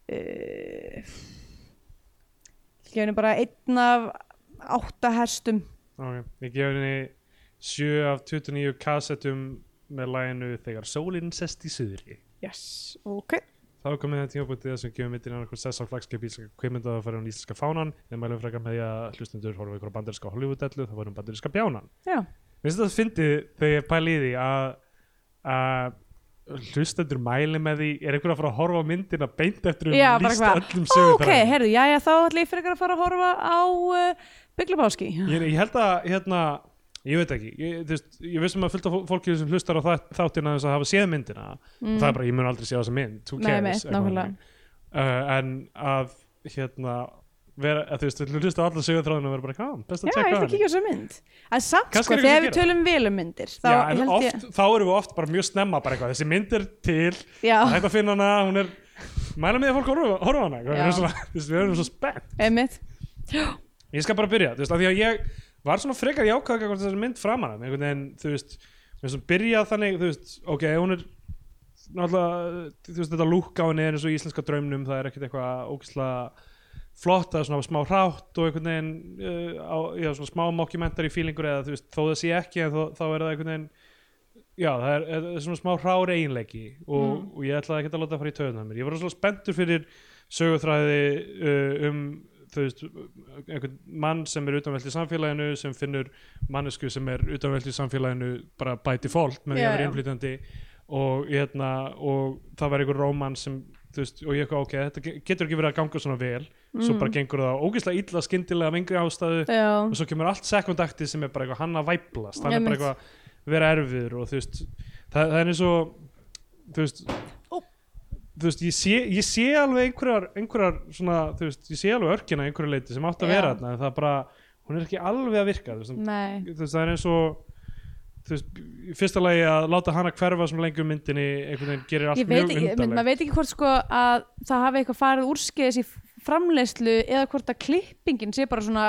B: uh, gef henni bara einn af átta hestum
C: Ok, Ég gef henni 7 af 29 kassettum með læginu Þegar sólinn sest í suðri
B: Yes, ok
C: Þá er komið það tímabútið sem gefum myndin annað hvort sess á flagskip íslenska kveimynda að fara um íslenska fánan en mælum frekar með því að hlustendur horfa ykkur á bandarinska Hollywood-dellu þá varum bandarinska bjánan
B: Já,
C: Mér finnst þetta fyndið þegar ég pæli í því að, að hlustendur mæli með því er einhver að fara að horfa á myndina beint eftir um
B: Já, bara
C: líst
B: hvað,
C: öllum
B: ok,
C: sögutræðum
B: herðu, já, já, þá ætla ég frekar að fara að horfa á uh, Bygglubáski
C: ég, ég held að hérna ég veit ekki, ég, þú veist, ég vissum að fylgta fólki sem hlustar á þa- þáttina þess að hafa séð myndina og það er bara, ég mun aldrei séð þessa mynd who
B: Mm. Nei,
C: cares,
B: nei,
C: eitthvað
B: nákvæmlega.
C: þannig. uh, en að hérna vera, að, þú veist, hlusta á alla sögutræðina og vera bara, hvað, best
B: Já,
C: að
B: ég ætla
C: tjekka á
B: að
C: henni."
B: kíkja á þessu mynd En samt,
C: Kannski
B: sko,
C: er eitthvað
B: þegar
C: sem
B: við tölum vel um myndir þá
C: Já, en
B: held
C: oft,
B: ég
C: þá erum við oft bara mjög snemma bara eitthvað, þessi mynd er til <laughs> Það er
B: Já,
C: hægt að finna hana, hún er mæla með að fólk horfa horfa á hana eitthvað, við erum
B: Já.
C: svona- <laughs> þú veist, við erum svo spennt
B: einmitt
C: ég skal bara byrja, þú veist, af því að ég var svona frekar jákvæða hvort þessari mynd framan af einhvern veginn, þú veist, við erum svona byrjað þannig, þú veist, ok, hún er náttúrulega, þú veist, þetta lúk á henni er eins og í íslenska draumnum, það er ekkert eitthvað ógislega flott, það er svona smá hrátt og einhvern veginn uh, á, já, svona smá mockumentary feelingur eða þú veist, þó það sé ekki en þó, þá er það einhvern veginn já, það er, er, er svona smá hrár eiginleiki og,
B: Mm.
C: og ég ætlaði ekki að láta það fara í töðunar mér ég var svona spenntur fyrir sögutræði uh, um þú veist, einhvern mann sem er utanvelt í samfélaginu sem finnur mannesku sem er utanvelt í samfélaginu bara by default með því
B: Já,
C: að vera
B: já.
C: innflytjandi og, hérna, og það var einhver róman sem þú veist, og ég eitthvað ok, þetta ge- getur ekki verið að ganga svona vel svo bara gengur það ógeðslega illa skyndilega af yngri ástæðu
B: Mm. Já,
C: og svo kemur allt sekundaktið sem er bara eitthvað hann að væplast, hann er bara
B: Einmitt.
C: eitthvað að vera erfiður og þú veist það, það er eins og þú veist,
B: Ó.
C: þú veist ég, sé, ég sé alveg einhverjar, einhverjar svona, þú veist, ég sé alveg örkina að einhverju leiti sem átt að
B: Já.
C: vera þarna en það er bara, hún er ekki alveg að virka þú veist, hún-
B: nei
C: þú veist, það er eins og þú veist, í fyrsta lagi að láta hana hverfa sem lengur myndinni einhvern veginn gerir allt
B: Ég veit
C: mjög
B: ekki, mynd,
C: undarlegt
B: maður veit ekki hvort sko að það hafi eitthvað farið úrskeiðis í framleiðslu eða hvort að klippingin sé bara svona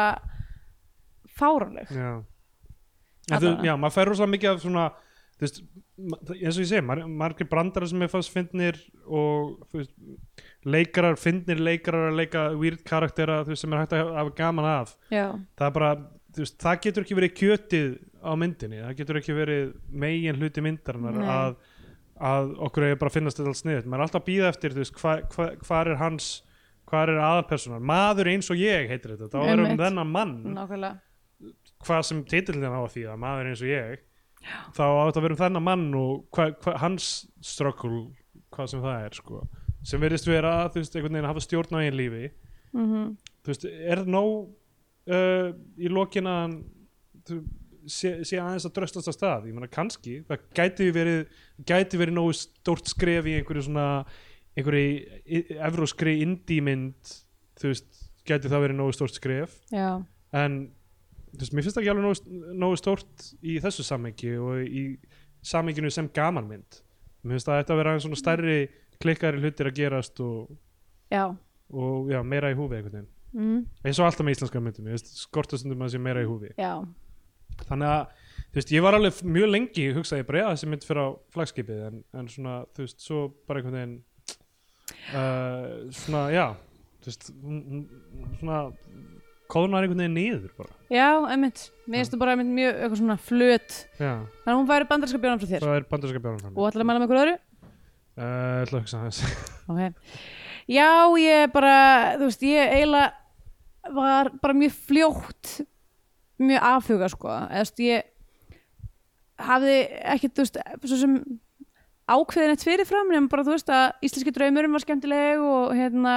B: fáranleg
C: já. En Þú,
B: Allavega.
C: já, maður fær rosalega mikið af svona þú veist, ma- það- eins og ég segi mar margir brandara sem ég fannst fyndnir og þú veist, leikarar fyndnir leikarar að leika weird karaktera þú veist, sem er hægt að hafa gaman af
B: Já,
C: það er bara, þú veist, það getur ekki verið kjötið á myndinni, það getur ekki verið megin hluti myndarinnar
B: Nei.
C: að, að okkur hefur bara að finnast þetta alls sniðut, maður er alltaf að býða eftir, þú veist, hvað hva, hva er hans hvað er aðalpersonar, maður eins og ég heitir þetta, þá erum
B: Einmitt.
C: þennan mann
B: nákvæmlega
C: hvað sem titillin á að þýða maður eins og ég þá á þetta að vera um þennan mann og hva, hva, hans struggle hvað sem það er sko sem verðist vera þú veist einhvern veginn að hafa stjórn á einn lífi
B: Mhm.
C: þú veist er nóg uh, í lokin að hann, þú, sé, sé aðeins að dröstast að stað ég meina kannski það gæti verið gæti verið nógu stórt skref í einhverju svona einhverju evróskri indímynd þú veist gæti það verið nógu stórt skref
B: Já,
C: en þú veist, mér finnst það ekki alveg nógu, nógu stórt í þessu samhengi og í samhenginu sem gamanmynd mér finnst það ætti að vera aðeins svona stærri klikkari hlutir að gerast og,
B: já
C: og já, meira í húfi einhvern veginn
B: mm,
C: eins og alltaf með íslenska myndum, ég veist, skortastundum að sé meira í húfi
B: Já,
C: þannig að, þú veist, ég var alveg f- mjög lengi hugsaði ég bara, já, þessi mynd fyrir á flagskipið en, en svona, þú veist, svo bara einhvern veginn uh, svona, já þú veist, hún- hún- svona kóðunar einhvern veginn niður bara,
B: já, einmitt Mér finnst þú bara einmitt mjög eitthvað svona flöt
C: já
B: Þannig að hún væri bandarinska bjónan frá þér
C: það er bandarska björnum
B: og ætlar að mæla með einhverju öðru
C: Uh, ætla að hugsa aðeins <laughs>
B: okay. Já, ég bara þú veist, ég eiginlega var bara mjög fljótt mjög afhuga sko eða þú veist, ég hafði ekkert, þú veist, svo sem ákveðin eitt fyrirfram nema bara þú veist að íslenski draumurum var skemmtileg og hérna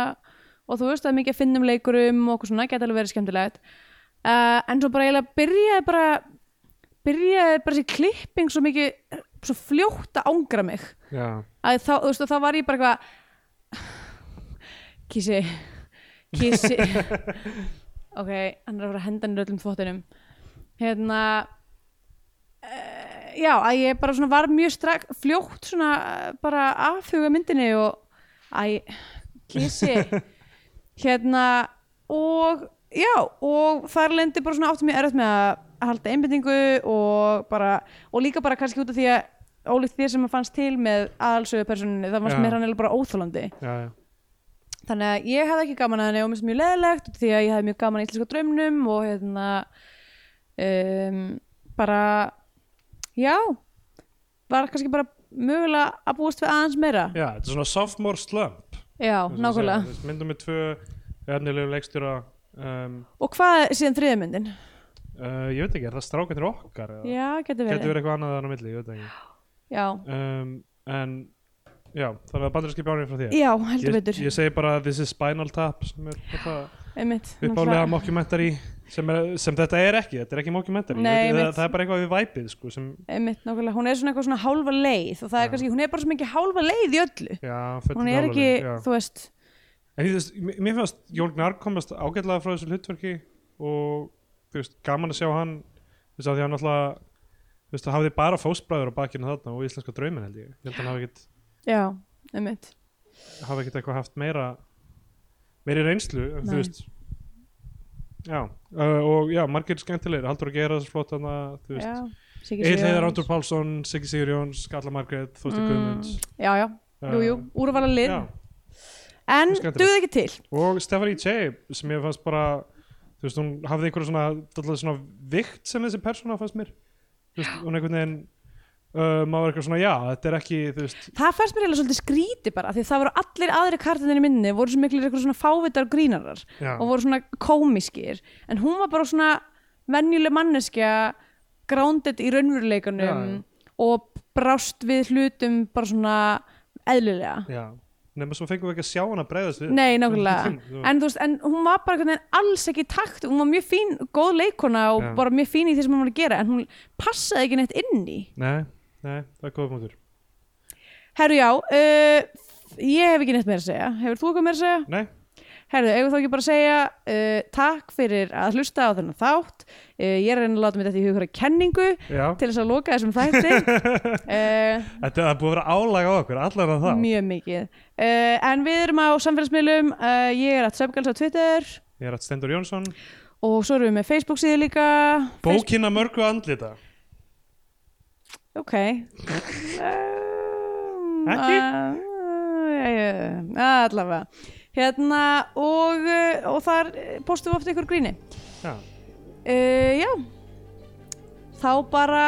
B: og þú veist að mikið að finnum leikurum og okkur svona geta alveg verið skemmtilegt uh, en svo bara eiginlega byrjaði bara byrjaði bara þessi klipping svo mikið, svo fljótt að ángra mig
C: Já,
B: að þá, þú veist, og þá var ég bara eitthvað kísi kísi ok, hann er að fara að henda henni öllum þvottinum hérna uh, já, að ég bara svona var mjög strak, fljótt svona eh, bara afhuga myndinni og æ, kísi hérna og já, og þar lendi bara svona áttum ég erfitt með að halda einbendingu og bara, og líka bara kannski út af því að ólíkt því sem að fannst til með aðalsögu personinu, það fannst
C: Já.
B: mér hann eiginlega bara óþólandi
C: já, já.
B: þannig að ég hefði ekki gaman að henni og mér finnst mjög leðilegt því að ég hefði mjög gaman að íslenska draumnum og hérna um, bara já var kannski bara mögulega að búast við aðeins meira já,
C: já, þetta er svona sophomore slump
B: nákvæmlega
C: Þess, myndum við tvö erðnilegu leikstjóra um,
B: og hvað er síðan þriðja myndin?
C: uh, ég veit ekki, er það strákanir okkar eða?
B: já, getur verið,
C: getur verið eitthvað annað þar á milli, ég veit það ekki
B: Já.
C: um, en já, þannig að bandarinski bjánir frá þér
B: já, heldur
C: ég,
B: betur
C: ég segi bara this is Spinal Tap sem er þetta
B: einmitt,
C: uppálega mockumentary sem, er, sem þetta er ekki, þetta er ekki mockumentary Ég
B: Nei,
C: veit- það,
B: einmitt.
C: það er bara eitthvað við væpið sko, sem,
B: einmitt, nákvæmlega hún er svona eitthvað svona hálfa leið og það er
C: Já.
B: kannski, hún er bara svo mikið hálfa leið í öllu
C: já,
B: hún er ekki, þú veist
C: En ég, þú veist, mér finnst Jól Gnarr komast ágætlega frá þessu hlutverki og þú veist, gaman að sjá hann þú veist, af því að hann alltaf þú veist, það hafði bara fósbræður á bakinu þarna og íslenska draumin held ég, ég held að hann hafi ekkit
B: já, einmitt
C: hafi ekkit eitthvað haft meira meiri reynslu, en
B: Nei.
C: þú veist já, uh, og já, margir skemmtilegir, Haldur að gera þessu flott þarna, þú veist,
B: Já, Siggi
C: Egil Heiðar
B: Sigurjóns.
C: Ándur Pálsson Siggi Sigur Jóns, Skalla Margrét, Þústi mm. Guðmunds Uh,
B: já, já, jú, jú, úrvala lið
C: já,
B: en
C: skemmtilegt.
B: duð ekki til
C: og Stephanie Che sem ég fannst bara þú veist, hún hafði einhverja svona, dálítið svona vikt sem þessi persóna fannst mér þú veist, hún einhvern veginn uh, maður var eitthvað svona, já, þetta er ekki þú veist,
B: það fannst mér eiginlega svolítið skríti bara því það voru allir aðri kartinir í minni voru svo miklir eitthvað svona fávitar og grínarar
C: já,
B: og voru svona komiskir en hún var bara svona venjuleg manneskja grounded í raunveruleikunum
C: Já, já.
B: og brást við hlutum bara svona eðlilega
C: já nema svo fengum við ekki að sjá hana bregðast við
B: Nei,
C: <laughs>
B: nákvæmlega en, þú veist, en hún var bara einhvern veginn alls ekki í takt Hún var mjög fín, góð leikona og
C: Já.
B: bara mjög fín í því sem hún var að gera En hún passaði ekki neitt inn í
C: nei, nei, það er góða mútur
B: Herru já, uh, ég hef ekki neitt meira að segja Hefur þú eitthvað meira að segja?
C: nei,
B: Herru, eigum við þá ekki bara að segja uh, takk fyrir að hlusta á þennan þátt uh, Ég er að reyna að láta mér þetta í hugur kenningu
C: já,
B: til þess að loka þessum þætti uh,
C: þetta er búið að vera álag á okkur allar að það,
B: Mjög mikið uh, En við erum á samfélagsmiðlum uh, Ég er að Svefgals á Twitter
C: ég er að Stendur Jónsson
B: Og svo erum við með Facebook síðu líka Facebook-
C: bókina mörgu andlita
B: Ok um,
C: Ekki?
B: uh, Allavega Hérna og, uh, og þar eh, postum við ofta ykkur gríni
C: já,
B: uh, Já Þá bara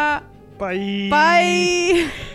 C: bye
B: Bye